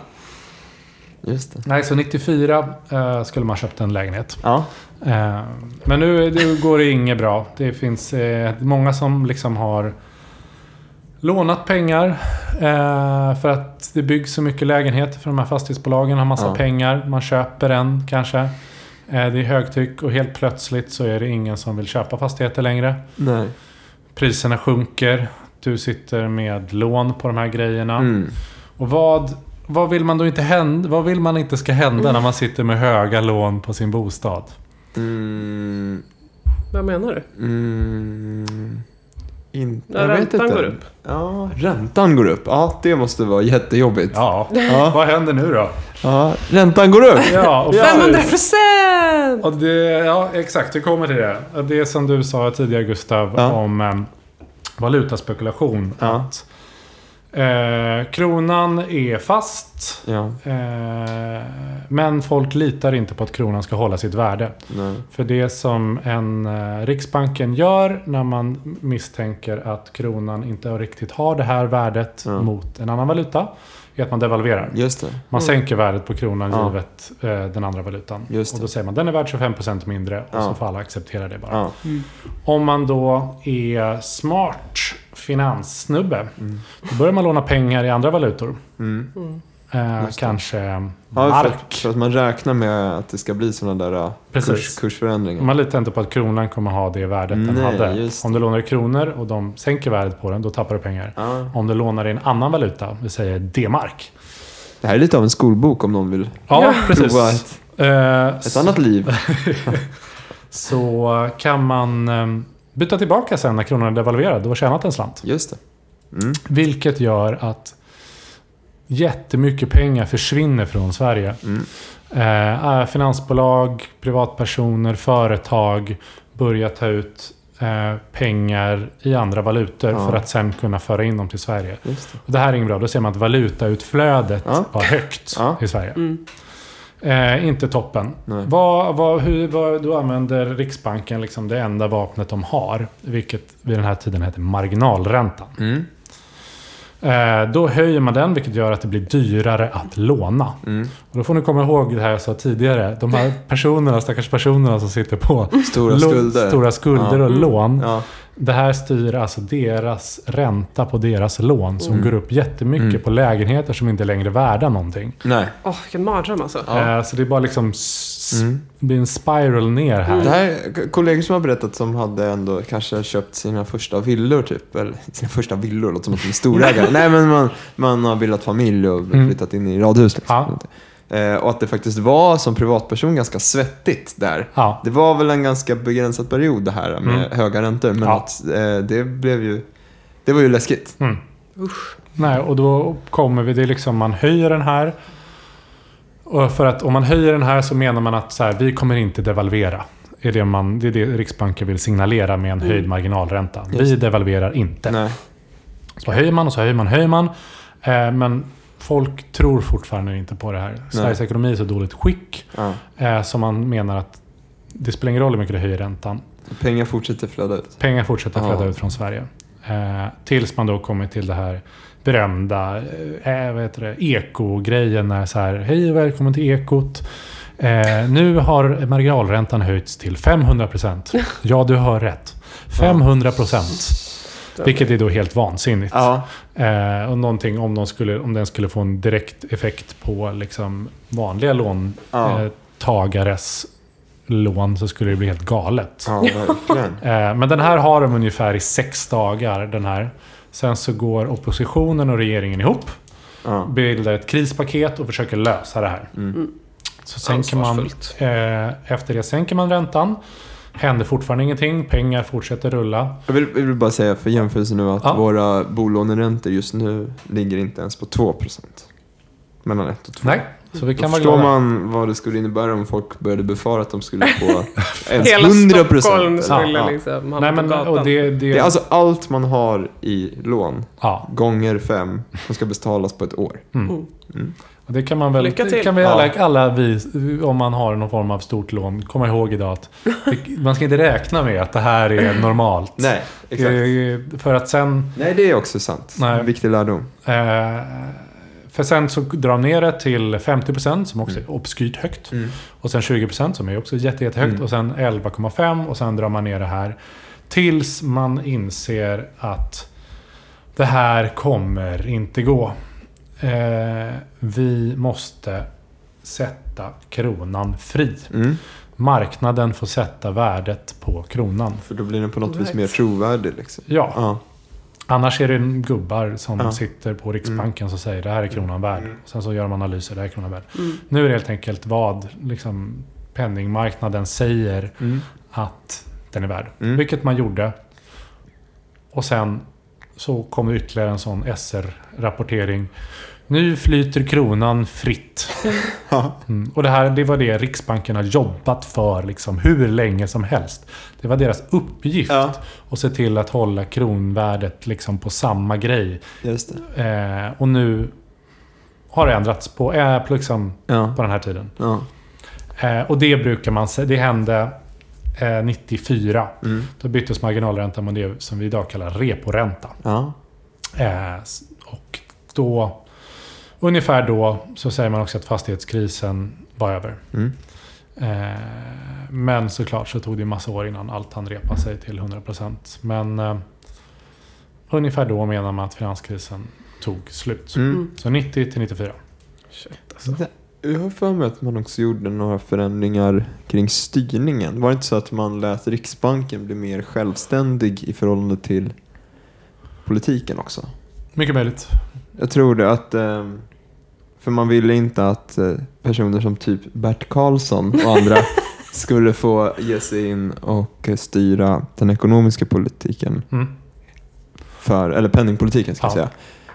Speaker 2: Just det.
Speaker 3: Nej, så 94 eh, skulle man ha köpt en lägenhet.
Speaker 2: Ja.
Speaker 3: Eh, men nu, nu går det inget bra. Det finns eh, många som liksom har lånat pengar eh, för att det byggs så mycket lägenheter för de här fastighetsbolagen har massa
Speaker 2: Ja.
Speaker 3: pengar. Man köper en kanske. Eh, det är högtryck och helt plötsligt så är det ingen som vill köpa fastigheter längre.
Speaker 2: Nej.
Speaker 3: Priserna sjunker. Du sitter med lån på de här grejerna.
Speaker 2: Mm.
Speaker 3: Och vad, vad vill man då inte hända? Vad vill man inte ska hända när man sitter med höga lån på sin bostad?
Speaker 2: Mm.
Speaker 1: Vad menar du?
Speaker 2: Mm. In,
Speaker 1: När
Speaker 2: jag vet
Speaker 1: räntan
Speaker 2: inte.
Speaker 1: går upp?
Speaker 2: Ja, räntan går upp. Ja, det måste vara jättejobbigt.
Speaker 3: Ja,
Speaker 2: Ja,
Speaker 3: vad händer nu då?
Speaker 2: ja. Räntan går upp.
Speaker 3: Ja, och
Speaker 1: 500 procent!
Speaker 3: Och det, ja, exakt. Vi kommer till det. Det som du sa tidigare, Gustav,
Speaker 2: Ja.
Speaker 3: om eh, valutaspekulation.
Speaker 2: Ja.
Speaker 3: Att Eh, kronan är fast.
Speaker 2: Ja,
Speaker 3: Eh, men folk litar inte på att kronan ska hålla sitt värde.
Speaker 2: nej.
Speaker 3: För det som en eh, Riksbanken gör när man misstänker att kronan inte riktigt har det här värdet
Speaker 2: Mm.
Speaker 3: mot en annan valuta är att man devalverar.
Speaker 2: Just det.
Speaker 3: Man
Speaker 1: Mm.
Speaker 3: sänker värdet på kronan
Speaker 2: Ja.
Speaker 3: givet eh, den andra valutan.
Speaker 2: Just
Speaker 3: och
Speaker 2: det.
Speaker 3: då säger man den är värd 25% mindre och så
Speaker 2: Ja.
Speaker 3: får alla acceptera det bara.
Speaker 2: Ja,
Speaker 3: Om man då är smart finanssnubbe då börjar man låna pengar i andra valutor.
Speaker 2: mm.
Speaker 3: Eh,
Speaker 2: Just det.
Speaker 3: kanske
Speaker 2: ja för,
Speaker 3: mark.
Speaker 2: att, för att man räknar med att det ska bli sådana där äh,
Speaker 3: Precis.
Speaker 2: kurs, kursförändringar.
Speaker 3: Man litar inte på att kronan kommer ha det värdet den
Speaker 2: Nej,
Speaker 3: hade.
Speaker 2: just det.
Speaker 3: Om du lånar i kronor och de sänker värdet på den, då tappar du pengar.
Speaker 2: Ja.
Speaker 3: Om du lånar i en annan valuta, vi säger D-mark.
Speaker 2: Det här är lite av en skolbok om någon vill
Speaker 3: Ja,
Speaker 1: Ja.
Speaker 3: precis.
Speaker 2: prova ett,
Speaker 3: Eh,
Speaker 2: ett annat liv.
Speaker 3: Så kan man eh, byta tillbaka sen när kronan är devalverad. Då har tjänat en slant.
Speaker 2: Just det. Mm.
Speaker 3: Vilket gör att jättemycket pengar försvinner från Sverige.
Speaker 2: Mm.
Speaker 3: Eh, eh, finansbolag, privatpersoner, företag börjar ta ut eh, pengar i andra valutor
Speaker 2: Ja.
Speaker 3: för att sen kunna föra in dem till Sverige.
Speaker 2: Just det.
Speaker 3: Och det här är inget bra. Då ser man att valutautflödet
Speaker 2: Ja.
Speaker 3: var högt
Speaker 2: Ja.
Speaker 3: i Sverige.
Speaker 1: Mm.
Speaker 3: Eh, inte toppen.
Speaker 2: Nej.
Speaker 3: Vad, vad, hur, vad, då använder Riksbanken liksom det enda vapnet de har, vilket vid den här tiden heter marginalräntan.
Speaker 2: Mm.
Speaker 3: Eh, Då höjer man den vilket gör att det blir dyrare att låna.
Speaker 2: Mm.
Speaker 3: Och då får ni komma ihåg det här jag sa tidigare. De här personerna, stackars personerna som sitter på
Speaker 2: Stora
Speaker 3: lå-
Speaker 2: skulder.
Speaker 3: stora skulder
Speaker 2: Ja.
Speaker 3: och lån.
Speaker 2: Ja.
Speaker 3: Det här styr alltså deras ränta på deras lån som
Speaker 2: Mm.
Speaker 3: går upp jättemycket
Speaker 2: Mm.
Speaker 3: på lägenheter som inte längre är värda någonting.
Speaker 2: Nej.
Speaker 1: Åh, vilken mardröm alltså.
Speaker 2: Ja.
Speaker 3: Eh, Så det är bara liksom s-
Speaker 2: Mm.
Speaker 3: det blir en spiral ner här.
Speaker 2: Det här är k- kollegor som har berättat som hade ändå kanske köpt sina första villor typ. Eller sina första villor, låter som att de är storägare. Nej men man, man har bildat familj och
Speaker 3: Mm.
Speaker 2: flyttat in i radhus. Liksom.
Speaker 3: Ja.
Speaker 2: Eh, och att det faktiskt var som privatperson ganska svettigt där.
Speaker 3: Ja.
Speaker 2: Det var väl en ganska begränsad period det här med
Speaker 3: Mm.
Speaker 2: höga räntor. Men
Speaker 3: Ja.
Speaker 2: att, eh, det blev ju det var ju läskigt.
Speaker 3: Mm.
Speaker 1: Usch.
Speaker 3: Nej, och då kommer vi, det är liksom man höjer den här. Och för att om man höjer den här så menar man att så här, vi kommer inte devalvera. Det är det, man, det är det Riksbanken vill signalera med en höjd marginalränta. Vi devalverar inte.
Speaker 2: Nej.
Speaker 3: Så höjer man och så höjer man, höjer man. Eh, men folk tror fortfarande inte på det här. Sveriges ekonomi är i så dåligt skick.
Speaker 2: Ja.
Speaker 3: Eh, som man menar att det spelar ingen roll hur mycket du höjer räntan.
Speaker 2: Pengar fortsätter flöda ut.
Speaker 3: Pengar fortsätter flöda
Speaker 2: Ja.
Speaker 3: ut från Sverige. Eh, tills man då kommer till det här berömda eh, vad heter det, eko-grejen. När så här, hej och välkommen till ekot. Eh, nu har marginalräntan höjts till 500%. Ja, du hör rätt. 500%. Vilket är då helt vansinnigt.
Speaker 2: Ja.
Speaker 3: Eh, och någonting om, de skulle, om den skulle få en direkt effekt på liksom, vanliga
Speaker 2: Ja.
Speaker 3: låntagares lån så skulle det bli helt galet.
Speaker 2: ja, verkligen.
Speaker 3: Eh, Men den här har de ungefär i sex dagar. Den här. Sen så går oppositionen och regeringen ihop,
Speaker 2: Ja.
Speaker 3: bildar ett krispaket och försöker lösa det här.
Speaker 2: Mm.
Speaker 3: Så sänker man,
Speaker 1: Ansvarsfullt.
Speaker 3: eh, efter det sänker man räntan. Händer fortfarande ingenting, pengar fortsätter rulla.
Speaker 2: Jag vill, jag vill bara säga för jämförelse nu att
Speaker 3: Ja.
Speaker 2: våra bolåneräntor just nu ligger inte ens på 2%. Mellan 1 och 2.
Speaker 3: Nej, så vi
Speaker 2: Då
Speaker 3: kan vara
Speaker 2: förstår
Speaker 3: glada.
Speaker 2: man vad det skulle innebära om folk började befara att de skulle få ens 100%.
Speaker 1: Hela Stockholm skulle
Speaker 2: Ja.
Speaker 1: liksom hamna
Speaker 3: Nej,
Speaker 1: på
Speaker 3: men,
Speaker 1: gatan.
Speaker 3: och det, det,
Speaker 2: Det är alltså allt man har i lån,
Speaker 3: ja,
Speaker 2: gånger fem, som ska betalas på ett år.
Speaker 3: och det kan man väl...
Speaker 1: Lycka
Speaker 3: det
Speaker 1: till.
Speaker 3: Kan vi alla,
Speaker 2: Ja.
Speaker 3: alla vi, om man har någon form av stort lån, komma ihåg idag att det, man ska inte räkna med att det här är normalt.
Speaker 2: Nej, exakt.
Speaker 3: Eh, För att sen...
Speaker 2: Nej, det är också sant.
Speaker 3: Nej.
Speaker 2: En viktig lärdom.
Speaker 3: Eh, för sen så drar de ner det till 50% som också är obskyrt högt.
Speaker 2: Mm.
Speaker 3: Och sen 20% som är också jätte, jättehögt.
Speaker 2: Mm.
Speaker 3: Och sen 11,5 och sen drar man ner det här. Tills man inser att det här kommer inte gå. Eh, vi måste sätta kronan fri.
Speaker 2: Mm.
Speaker 3: Marknaden får sätta värdet på kronan.
Speaker 2: För då blir den på något vis
Speaker 1: Right.
Speaker 2: mer trovärdig. Liksom.
Speaker 3: Ja,
Speaker 2: Ja.
Speaker 3: Annars är det en gubbar som
Speaker 2: Ja. Mm.
Speaker 3: sitter på Riksbanken som säger det här är kronan värd. Sen så gör man analyser, det här är kronan värd.
Speaker 1: Mm.
Speaker 3: Nu är det helt enkelt vad liksom, penningmarknaden säger
Speaker 2: Mm.
Speaker 3: att den är värd.
Speaker 2: Mm.
Speaker 3: Vilket man gjorde. Och sen så kom det ytterligare en sån SR-rapportering. Nu flyter kronan fritt. Mm. Och det här det var det Riksbanken har jobbat för liksom, hur länge som helst. Det var deras uppgift
Speaker 2: Ja.
Speaker 3: att se till att hålla kronvärdet liksom, på samma grej.
Speaker 2: Just det.
Speaker 3: Eh, och nu har det ändrats på, eh, på, liksom,
Speaker 2: Ja.
Speaker 3: på den här tiden.
Speaker 2: ja.
Speaker 3: Eh, och det brukar man säga, det hände eh, 94.
Speaker 2: Mm.
Speaker 3: Då byttes marginalräntan mot det som vi idag kallar reporänta.
Speaker 2: Ja.
Speaker 3: Eh, s- och då, ungefär då, så säger man också att fastighetskrisen var över.
Speaker 2: Mm.
Speaker 3: Eh, men såklart så tog det en massa år innan allt hann repa sig till 100%. Men eh, ungefär då menar man att finanskrisen tog slut.
Speaker 2: Mm.
Speaker 1: Mm.
Speaker 3: Så 90 till 94.
Speaker 1: Shit, alltså.
Speaker 2: Det- Jag har för mig att man också gjorde några förändringar kring styrningen. Var det inte så att man lät Riksbanken bli mer självständig i förhållande till politiken också?
Speaker 3: Mycket möjligt.
Speaker 2: Jag tror det att... ehm, För man ville inte att eh, personer som typ Bert Karlsson och andra skulle få ge sig in och eh, styra den ekonomiska politiken.
Speaker 3: Mm.
Speaker 2: För, eller penningpolitiken ska jag
Speaker 3: Ja.
Speaker 2: säga.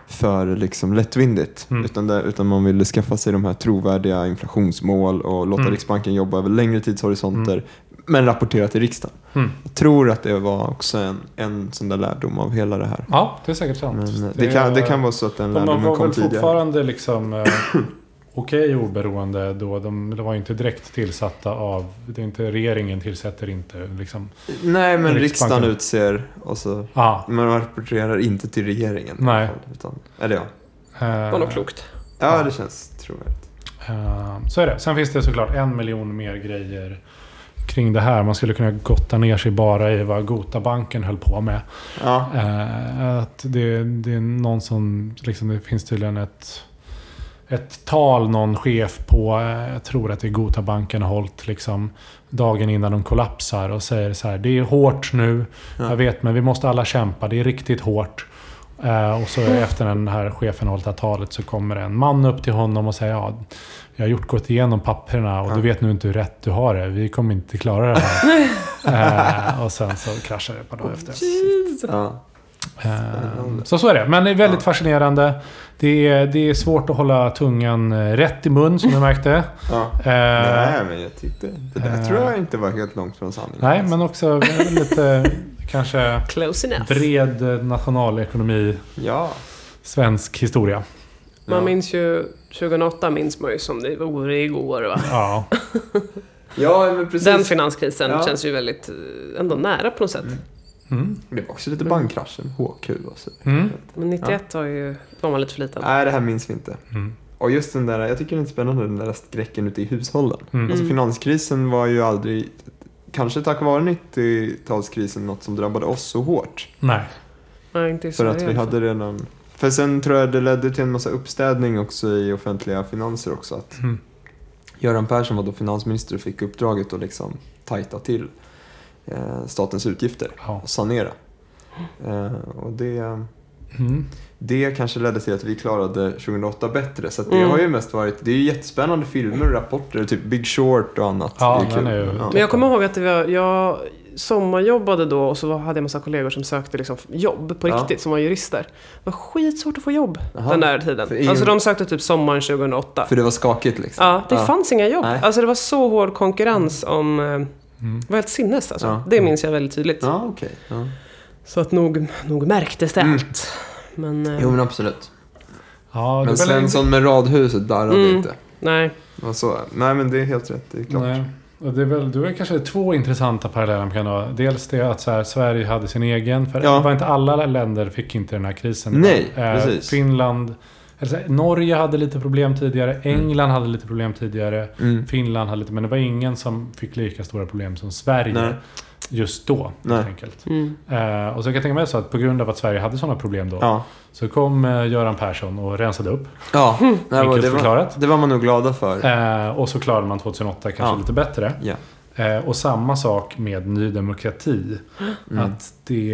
Speaker 2: För liksom lättvindigt.
Speaker 3: Mm.
Speaker 2: Utan, det, utan man ville skaffa sig de här trovärdiga inflationsmål och låta
Speaker 3: Mm.
Speaker 2: Riksbanken jobba över längre tidshorisonter. Men rapportera till riksdagen.
Speaker 3: Mm.
Speaker 2: Jag tror att det var också en, en sån där lärdom av hela det här.
Speaker 3: Ja, det är säkert sant.
Speaker 2: Men eh, det, kan, det kan vara så att den
Speaker 3: Men man
Speaker 2: lärdomen
Speaker 3: var
Speaker 2: kom
Speaker 3: väl
Speaker 2: tidigare.
Speaker 3: fortfarande liksom eh, okej oberoende då. De, de var ju inte direkt tillsatta av... Det är inte, regeringen tillsätter inte liksom...
Speaker 2: Nej, men
Speaker 3: Riksbanken.
Speaker 2: riksdagen utser och så...
Speaker 3: Ah,
Speaker 2: Men man rapporterar inte till regeringen. i
Speaker 3: Nej.
Speaker 2: alla fall, Utan, eller ja.
Speaker 3: eh,
Speaker 1: Det var nog klokt.
Speaker 2: Ja,
Speaker 3: Ja.
Speaker 2: det känns trovärdigt.
Speaker 3: Eh, Så är det. Sen finns det såklart en miljon mer grejer kring det här. Man skulle kunna gotta ner sig bara i vad Gotabanken höll på med.
Speaker 2: Ja.
Speaker 3: Eh, Att det, det är någon som, liksom, det finns tydligen ett, ett tal någon chef på, eh, jag tror att det är Gotabanken har hållit liksom, dagen innan de kollapsar och säger så här. Det är hårt nu,
Speaker 2: Ja.
Speaker 3: jag vet men vi måste alla kämpa, det är riktigt hårt. Eh, och så efter den här chefen har hållit det här talet så kommer en man upp till honom och säger ja, jag har gjort gått igenom papperna och
Speaker 2: Ja.
Speaker 3: du vet nu inte hur rätt du har det. Vi kommer inte klara det här. eh, och sen så kraschar det ett par dagar efter.
Speaker 2: ja.
Speaker 3: Ehm, Så så är det. Men det är väldigt fascinerande. Det är, det är svårt att hålla tungan eh, rätt i mun som du märkte. Ehm,
Speaker 2: ja. Nej, men jag tyckte... Det där
Speaker 3: Eh.
Speaker 2: tror jag inte var helt långt från sanningen.
Speaker 3: nej, men också lite kanske
Speaker 1: Close enough.
Speaker 3: bred eh, nationalekonomi,
Speaker 2: Ja.
Speaker 3: svensk historia.
Speaker 1: Man
Speaker 2: Ja.
Speaker 1: minns ju 2008 minns man ju som det vore igår va?
Speaker 3: Ja,
Speaker 2: Ja, men precis.
Speaker 1: Den finanskrisen
Speaker 2: Ja.
Speaker 1: känns ju väldigt eh, ändå nära på något sätt.
Speaker 3: mm.
Speaker 2: Det var också lite bankkraschen. HQ och så.
Speaker 3: Mm.
Speaker 1: Men 91 var, ju, var man lite för liten.
Speaker 2: Nej, det här minns vi inte.
Speaker 3: Mm.
Speaker 2: Och just den där, jag tycker den är spännande, den där skräcken ute i hushållen.
Speaker 3: Mm.
Speaker 2: Alltså
Speaker 1: Mm.
Speaker 2: finanskrisen var ju aldrig, kanske tack vare 90-talskrisen, något som drabbade oss så hårt.
Speaker 3: Nej.
Speaker 1: Nej, inte i
Speaker 2: För
Speaker 1: Sverige
Speaker 2: att
Speaker 1: i
Speaker 2: vi
Speaker 1: alla fall.
Speaker 2: hade redan... För sen tror jag det ledde till en massa uppstädning också i offentliga finanser också. Att
Speaker 3: Mm.
Speaker 2: Göran Persson var då finansminister och fick uppdraget att liksom tajta till eh, statens utgifter
Speaker 3: Ja.
Speaker 2: och sanera. Eh, och det,
Speaker 3: Mm.
Speaker 2: det kanske ledde till att vi klarade 2008 bättre. Så att det
Speaker 1: Mm.
Speaker 2: har ju mest varit... Det är ju jättespännande filmer och rapporter, typ Big Short och annat.
Speaker 3: Ja,
Speaker 2: det är
Speaker 3: den är ju-
Speaker 2: Ja.
Speaker 1: Men jag kommer ihåg att det var, jag sommarjobbade då och så var- hade jag massa kollegor som sökte liksom jobb på
Speaker 2: Ja.
Speaker 1: riktigt, som var jurister. Det var skitsvårt att få jobb
Speaker 2: Jaha.
Speaker 1: den där tiden.
Speaker 2: För ingen-
Speaker 1: Alltså de sökte typ sommaren 2008.
Speaker 2: För det var skakigt liksom.
Speaker 1: Ja, det fanns inga jobb.
Speaker 2: Nej.
Speaker 1: Alltså det var så hård konkurrens om... eh,
Speaker 3: Mm.
Speaker 1: Det var helt sinnes alltså.
Speaker 2: Ja.
Speaker 1: Det minns jag väldigt tydligt.
Speaker 2: Ja, okej. Ja.
Speaker 1: Mm. Så att nog, nog märktes det
Speaker 2: Mm.
Speaker 1: allt. Men, eh,
Speaker 2: Jo, men absolut.
Speaker 3: Ja,
Speaker 2: Men
Speaker 3: det var
Speaker 2: Svensson med radhuset darrade
Speaker 1: Mm.
Speaker 2: inte.
Speaker 1: nej.
Speaker 2: Och så, nej men det är helt rätt, det är klart.
Speaker 3: Nej. Och det är väl, du har kanske två intressanta paralleller man kan dra. Dels det att så här, Sverige hade sin egen. För
Speaker 2: Ja.
Speaker 3: det var inte alla länder fick inte den här krisen. Det
Speaker 2: Nej,
Speaker 3: var,
Speaker 2: precis.
Speaker 3: Finland, eller så här, Norge hade lite problem tidigare. England hade lite problem tidigare.
Speaker 2: Mm.
Speaker 3: Finland hade lite, men det var ingen som fick lika stora problem som Sverige
Speaker 2: Nej.
Speaker 3: just då.
Speaker 2: Nej.
Speaker 3: Helt enkelt.
Speaker 1: Mm.
Speaker 3: Eh, och så kan jag tänka mig så att på grund av att Sverige hade sådana problem då.
Speaker 2: Ja.
Speaker 3: Så kom eh, Göran Persson och rensade upp.
Speaker 2: ja.
Speaker 1: Mm.
Speaker 2: Det, var,
Speaker 3: Enkelt
Speaker 2: det, var,
Speaker 3: förklarat.
Speaker 2: det var man nog glada för.
Speaker 3: Eh, och så klarade man 2008 kanske
Speaker 2: Ja.
Speaker 3: lite bättre.
Speaker 2: Ja.
Speaker 3: Eh, och samma sak med Ny Demokrati.
Speaker 2: Mm.
Speaker 3: Att det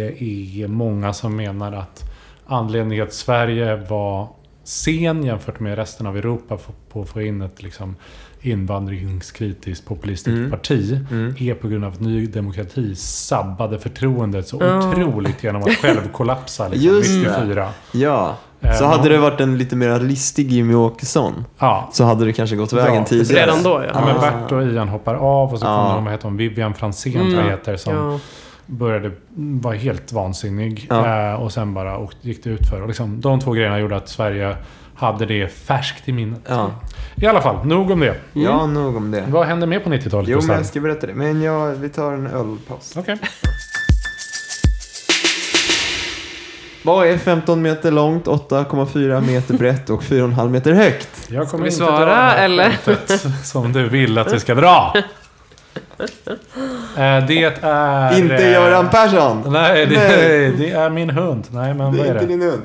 Speaker 3: är många som menar att anledningen att Sverige var sen jämfört med resten av Europa f- på att få in ett liksom, invandringskritiskt populistiskt
Speaker 2: Mm.
Speaker 3: parti
Speaker 2: Mm.
Speaker 3: är på grund av att Ny Demokrati sabbade förtroendet så
Speaker 1: Ja.
Speaker 3: otroligt genom att själv kollapsa liksom,
Speaker 2: Just det.
Speaker 3: 94.
Speaker 2: Ja,
Speaker 3: Eh,
Speaker 2: Så hade det varit en lite mer listig Jimmy Åkesson
Speaker 3: Ja.
Speaker 2: så hade det kanske gått
Speaker 3: Bra,
Speaker 2: vägen
Speaker 3: precis.
Speaker 2: tidigare.
Speaker 1: Redan då, ja.
Speaker 3: Ja, men
Speaker 2: Ah.
Speaker 3: Bert och Ian hoppar av och så
Speaker 2: Ja.
Speaker 3: kommer de, vad heter hon, Vivian Franzén
Speaker 1: Mm.
Speaker 3: tror jag heter, som
Speaker 1: Ja.
Speaker 3: började vara helt vansinnig.
Speaker 2: Ja.
Speaker 3: Eh, och sen bara och gick det ut för. Och liksom, de två grejerna gjorde att Sverige hade det färskt i minnet.
Speaker 2: Ja.
Speaker 1: Mm.
Speaker 3: I alla fall, nog om det.
Speaker 2: ja, nog om det.
Speaker 3: Vad hände mer på 90-talet?
Speaker 2: Jo, men
Speaker 3: Gustav?
Speaker 2: jag ska berätta det. Men jag, vi tar en ölpaus.
Speaker 3: Okej.
Speaker 2: Vad är 15 meter långt, 8,4 meter brett och 4,5 meter högt?
Speaker 3: Jag kommer
Speaker 1: vi
Speaker 3: inte
Speaker 1: svara,
Speaker 3: dra det här
Speaker 1: eller?
Speaker 3: skämtet som du vill att vi ska dra. Eh, det är...
Speaker 2: Inte
Speaker 3: eh,
Speaker 2: Göran Persson!
Speaker 3: Nej, det,
Speaker 2: Nej.
Speaker 3: det är min hund. Nej, men
Speaker 2: Det
Speaker 3: vad
Speaker 2: är
Speaker 3: är
Speaker 2: inte
Speaker 3: det?
Speaker 2: din hund.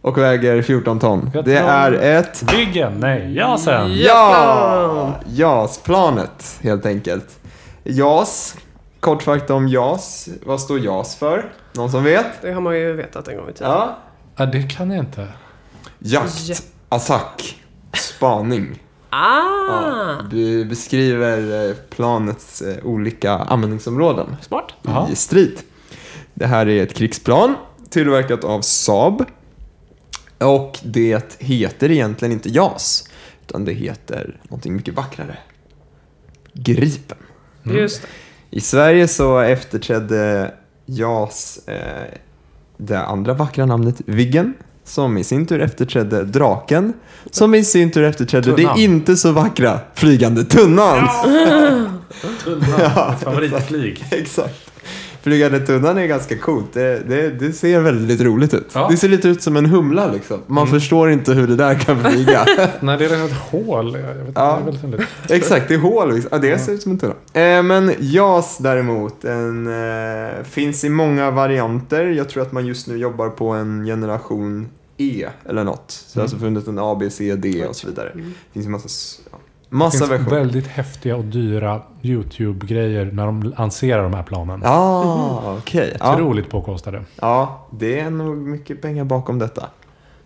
Speaker 2: Och väger 14 ton.
Speaker 3: Jag
Speaker 2: Det
Speaker 3: tror-
Speaker 2: är ett...
Speaker 3: Viggen? Nej, Jasen.
Speaker 2: Ja! JAS-planet, helt enkelt. JAS. Kort fakta om JAS. Vad står JAS för? Någon som vet?
Speaker 1: Det har man ju vetat en gång i tiden.
Speaker 2: Ja.
Speaker 3: Ja, det kan jag inte.
Speaker 1: Jätte-
Speaker 2: Jakt. Attack. Spaning.
Speaker 1: Ah!
Speaker 2: Ja, be- beskriver eh, planets eh, olika användningsområden
Speaker 1: Smart.
Speaker 3: Jaha.
Speaker 2: i strid. Det här är ett krigsplan tillverkat av Saab. Och det heter egentligen inte JAS, utan det heter någonting mycket vackrare. Gripen.
Speaker 1: Just det.
Speaker 2: I Sverige så efterträdde JAS eh, det andra vackra namnet Viggen, som i sin tur efterträdde Draken, som i sin tur efterträdde
Speaker 3: Tunnan.
Speaker 2: det inte så vackra Flygande Tunnan.
Speaker 3: Tunnan, mitt favoritflyg.
Speaker 2: Exakt. Flygande tunnan är ganska coolt. Det, det, det ser väldigt roligt ut.
Speaker 3: Ja. Mm.
Speaker 2: Det ser lite ut som en humla liksom. Man förstår inte hur det där kan flyga.
Speaker 3: Nej, det är liksom ett hål. Jag vet inte,
Speaker 2: Ja.
Speaker 3: det är väldigt underligt.
Speaker 2: Exakt, det är hål. Liksom. Ja, det ser ut som en tunna. Eh, men JAS däremot en, eh, finns i många varianter. Jag tror att man just nu jobbar på en generation E eller något. Så det har alltså
Speaker 3: Mm.
Speaker 2: funnits en A, B, C, D och så vidare. Det finns en massa, s- ja,
Speaker 3: Det
Speaker 2: massa
Speaker 3: finns
Speaker 2: versioner.
Speaker 3: väldigt häftiga och dyra YouTube-grejer när de lanserar de här planen.
Speaker 2: Ah, okej. Ja.
Speaker 3: Otroligt påkostade.
Speaker 2: Ja, det är nog mycket pengar bakom detta.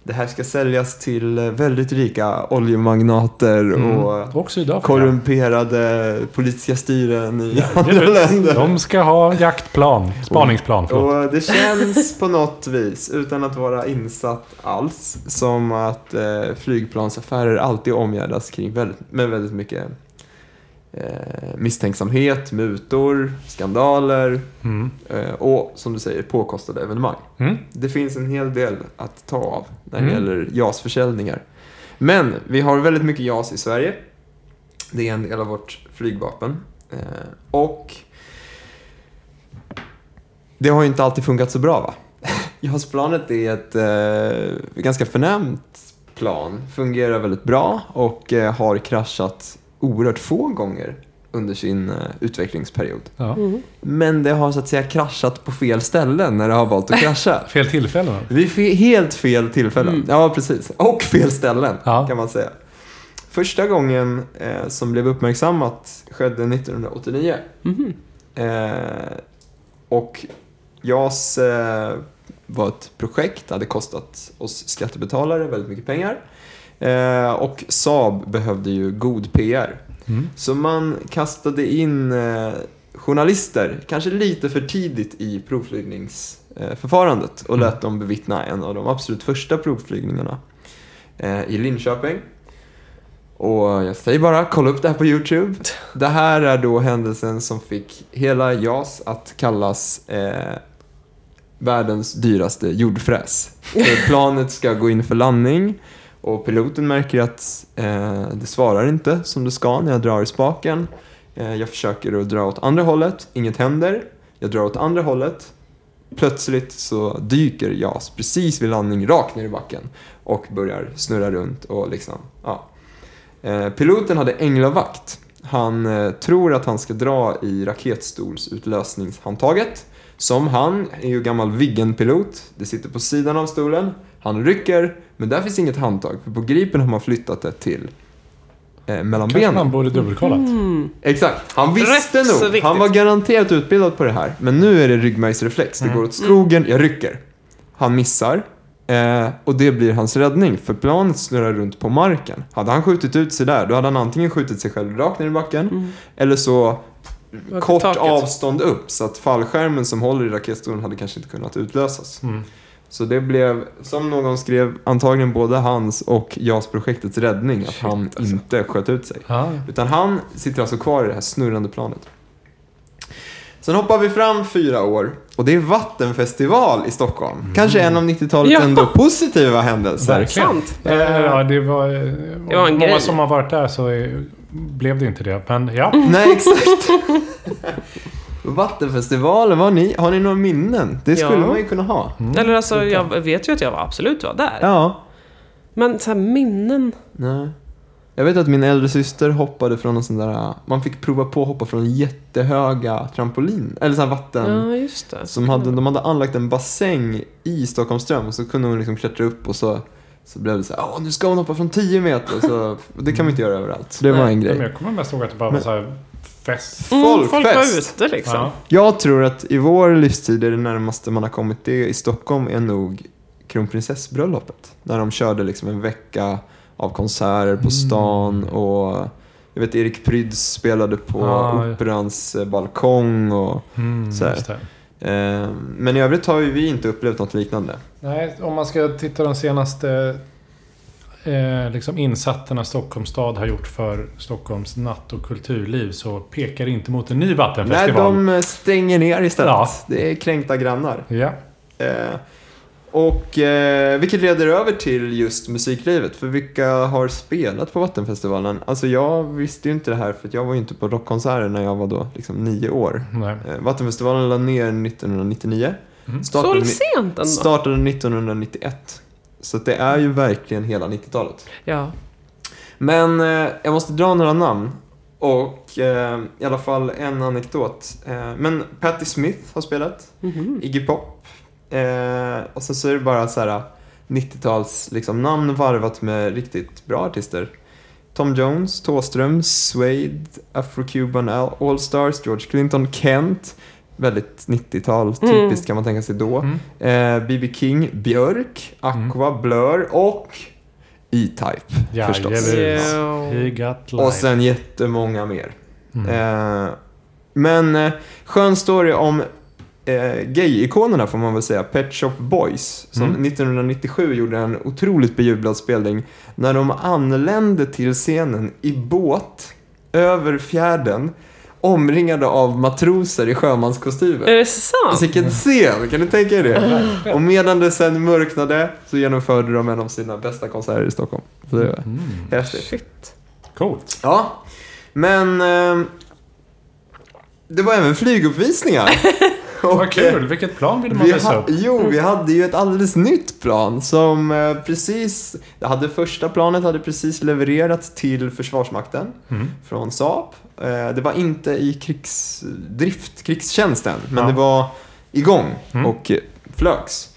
Speaker 2: Det här ska säljas till eh, väldigt rika oljemagnater och
Speaker 3: Mm. Och Sydafrika.
Speaker 2: korrumperade politiska styren i andra
Speaker 3: Jajamän.
Speaker 2: länder. Mm.
Speaker 3: De ska ha jaktplan. Spaningsplan, förlåt.
Speaker 2: Och det känns på något vis, utan att vara insatt alls, som att eh, flygplansaffärer alltid omgärdas kring väldigt, med väldigt mycket eh, misstänksamhet, mutor, skandaler
Speaker 3: Mm.
Speaker 2: eh, och, som du säger, påkostade evenemang.
Speaker 3: Mm.
Speaker 2: Det finns en hel del att ta av när det
Speaker 3: Mm.
Speaker 2: gäller JAS-försäljningar. Men vi har väldigt mycket JAS i Sverige. Det är en del av vårt flygvapen. Eh, och det har ju inte alltid funkat så bra va? JAS-planet är ett eh, ganska förnämt plan. Fungerar väldigt bra och eh, har kraschat oerhört få gånger under sin eh, utvecklingsperiod.
Speaker 3: Ja.
Speaker 2: Men det har så att säga kraschat på fel ställen när det har valt att krascha.
Speaker 3: Fel tillfälle va?
Speaker 2: Vid fe- helt fel tillfällen. Ja, precis. Och fel ställen,
Speaker 3: Ja.
Speaker 2: kan man säga. Första gången eh, som blev uppmärksammat skedde 1989.
Speaker 3: Mhm.
Speaker 2: Eh, och JAS eh, var ett projekt, hade kostat oss skattebetalare väldigt mycket pengar. Eh, och Saab behövde ju god PR.
Speaker 3: Mm.
Speaker 2: Så man kastade in eh, journalister, kanske lite för tidigt i provflygningsförfarandet och lät dem bevittna en av de absolut första provflygningarna eh, i Linköping. Och jag säger bara, kolla upp det här på YouTube. Det här är då händelsen som fick hela JAS att kallas eh, världens dyraste jordfräs. För planet ska gå in för landning och piloten märker att eh, det svarar inte som det ska när jag drar i spaken. Eh, jag försöker att dra åt andra hållet, inget händer. Jag drar åt andra hållet. Plötsligt så dyker JAS precis vid landning rakt ner i backen och börjar snurra runt och liksom, ja. Eh, piloten hade änglavakt. Han eh, tror att han ska dra i raketstolsutlösningshandtaget. Som han är ju gammal Viggen-pilot. Det sitter på sidan av stolen. Han rycker, men där finns inget handtag. För på Gripen har man flyttat det till eh, mellan
Speaker 3: Kanske
Speaker 2: benen.
Speaker 3: man borde dubbelkollat.
Speaker 1: Mm.
Speaker 2: Exakt. Han visste
Speaker 1: Rätt så
Speaker 2: nog.
Speaker 1: viktigt.
Speaker 2: Han var garanterat utbildad på det här. Men nu är det ryggmärgsreflex.
Speaker 1: Mm.
Speaker 2: Det går åt skogen, jag rycker. Han missar. Eh, och det blir hans räddning, för planet snurrar runt på marken. Hade han skjutit ut sig där, då hade han antingen skjutit sig själv rakt ner i backen, eller så
Speaker 1: Upp i
Speaker 2: kort
Speaker 1: Mm. taket.
Speaker 3: Mm.
Speaker 2: avstånd upp, så att fallskärmen som håller i raketstolen hade kanske inte kunnat utlösas. Så det blev, som någon skrev, antagligen både hans och JAS-projektets räddning att han
Speaker 1: alltså.
Speaker 2: inte sköt ut sig.
Speaker 3: Ja.
Speaker 2: Utan han sitter alltså kvar i det här snurrande planet. Sen hoppar vi fram fyra år och det är vattenfestival i Stockholm. Kanske en av 90-talets
Speaker 1: Ja.
Speaker 2: ändå positiva händelser.
Speaker 3: Verkligen.
Speaker 1: Sant.
Speaker 3: Eh, Ja, det var, eh,
Speaker 1: Det var en
Speaker 3: många
Speaker 1: grej.
Speaker 3: som har varit där så eh, blev det inte det. Men ja,
Speaker 2: Nej, exakt. Vattenfestivalen, var ni, har ni några minnen? Det skulle
Speaker 1: Ja.
Speaker 2: man ju kunna ha.
Speaker 1: Eller alltså, jag vet ju att jag var absolut var där.
Speaker 2: Mm, Ja.
Speaker 1: Men så här, minnen.
Speaker 2: Nej. Jag vet att min äldre syster hoppade från en sån där... Man fick prova på att hoppa från jättehöga trampolin. Eller sån här vatten...
Speaker 1: Ja, just det.
Speaker 2: Som hade, de hade anlagt en bassäng i Stockholmström och så kunde hon liksom klättra upp och så, så blev det så här, Åh, nu ska hon hoppa från 10 meter. Så, det kan man inte göra överallt. Så det var
Speaker 1: Nej.
Speaker 2: en
Speaker 3: men
Speaker 2: grej.
Speaker 3: jag kommer mest ihåg att det bara var så här fest.
Speaker 1: Mm, folk var
Speaker 2: Folkfest!
Speaker 1: ute liksom.
Speaker 3: Ja.
Speaker 2: Jag tror att i vår livstid är det närmaste man har kommit det i Stockholm är nog kronprinsessbröllopet. När de körde liksom en vecka av konserter på stan och jag vet Erik Pryds spelade på
Speaker 3: Ah, ja.
Speaker 2: Operans eh, balkong och
Speaker 3: Mm,
Speaker 2: Så här.
Speaker 3: just det.
Speaker 2: eh, Men i övrigt har ju vi inte upplevt något liknande.
Speaker 3: Nej, om man ska titta de senaste eh, liksom insatserna Stockholms stad har gjort för Stockholms natt och kulturliv så pekar det inte mot en ny
Speaker 2: Nej,
Speaker 3: vattenfestival.
Speaker 2: de eh, stänger ner istället.
Speaker 3: Ja.
Speaker 2: Det är kränkta grannar.
Speaker 3: Ja.
Speaker 2: Eh, och, eh, vilket leder över till just musiklivet. För vilka har spelat på Vattenfestivalen? Alltså jag visste ju inte det här för att jag var ju inte på rockkonserter när jag var då liksom nio år.
Speaker 3: Nej.
Speaker 2: Eh, Vattenfestivalen lade ner 1999.
Speaker 3: Mm.
Speaker 1: Så
Speaker 2: Startade, ni-
Speaker 1: sent ändå.
Speaker 2: startade 1991. Så att det är ju verkligen hela 90-talet.
Speaker 1: Ja.
Speaker 2: Men eh, jag måste dra några namn. Och eh, i alla fall en anekdot. Eh, men Patti Smith har spelat,
Speaker 1: Mhm.
Speaker 2: Iggy Pop. Eh, och sen så är det bara så här 90-tals liksom, namn varvat med riktigt bra artister. Tom Jones, Thåström, Suede, Afro-Cuban All- All-Stars, George Clinton, Kent. Väldigt 90-tal, typiskt
Speaker 1: Mm.
Speaker 2: kan man tänka sig då.
Speaker 3: Mm.
Speaker 2: Eh, B.B. King, Björk, Aqua, Blur och E-Type
Speaker 3: Ja,
Speaker 2: förstås. Eh,
Speaker 3: Jajamän.
Speaker 1: Ja.
Speaker 3: He got life.
Speaker 2: Och sen jättemånga mer.
Speaker 3: Mm.
Speaker 2: Eh, men eh, skön story om eh, gay-ikonerna får man väl säga. Pet Shop Boys som
Speaker 3: Mm.
Speaker 2: 1997 gjorde en otroligt bejublad spelning när de anlände till scenen i båt över fjärden omringade av matroser i sjömanskostymer.
Speaker 1: Är det sant?
Speaker 2: Alltså, vilken scen! Kan du tänka dig det? Och medan det sen mörknade så genomförde de en av sina bästa konserter i Stockholm. Så det var
Speaker 3: Mm.
Speaker 2: häftigt.
Speaker 1: Shit.
Speaker 3: Coolt.
Speaker 2: Ja, men ehm, det var även flyguppvisningar. Och,
Speaker 3: Vad
Speaker 2: eh,
Speaker 3: kul. Vilket plan ville man
Speaker 2: Vi
Speaker 3: visa
Speaker 2: ha,
Speaker 3: upp?
Speaker 2: jo, vi hade ju ett alldeles nytt plan som eh, precis, det hade första planet hade precis levererats till Försvarsmakten
Speaker 3: Mm.
Speaker 2: från Saab. Eh, det var inte i krigsdrift, krigstjänsten, men
Speaker 3: Ja.
Speaker 2: det var igång
Speaker 3: Mm.
Speaker 2: och eh, flögs.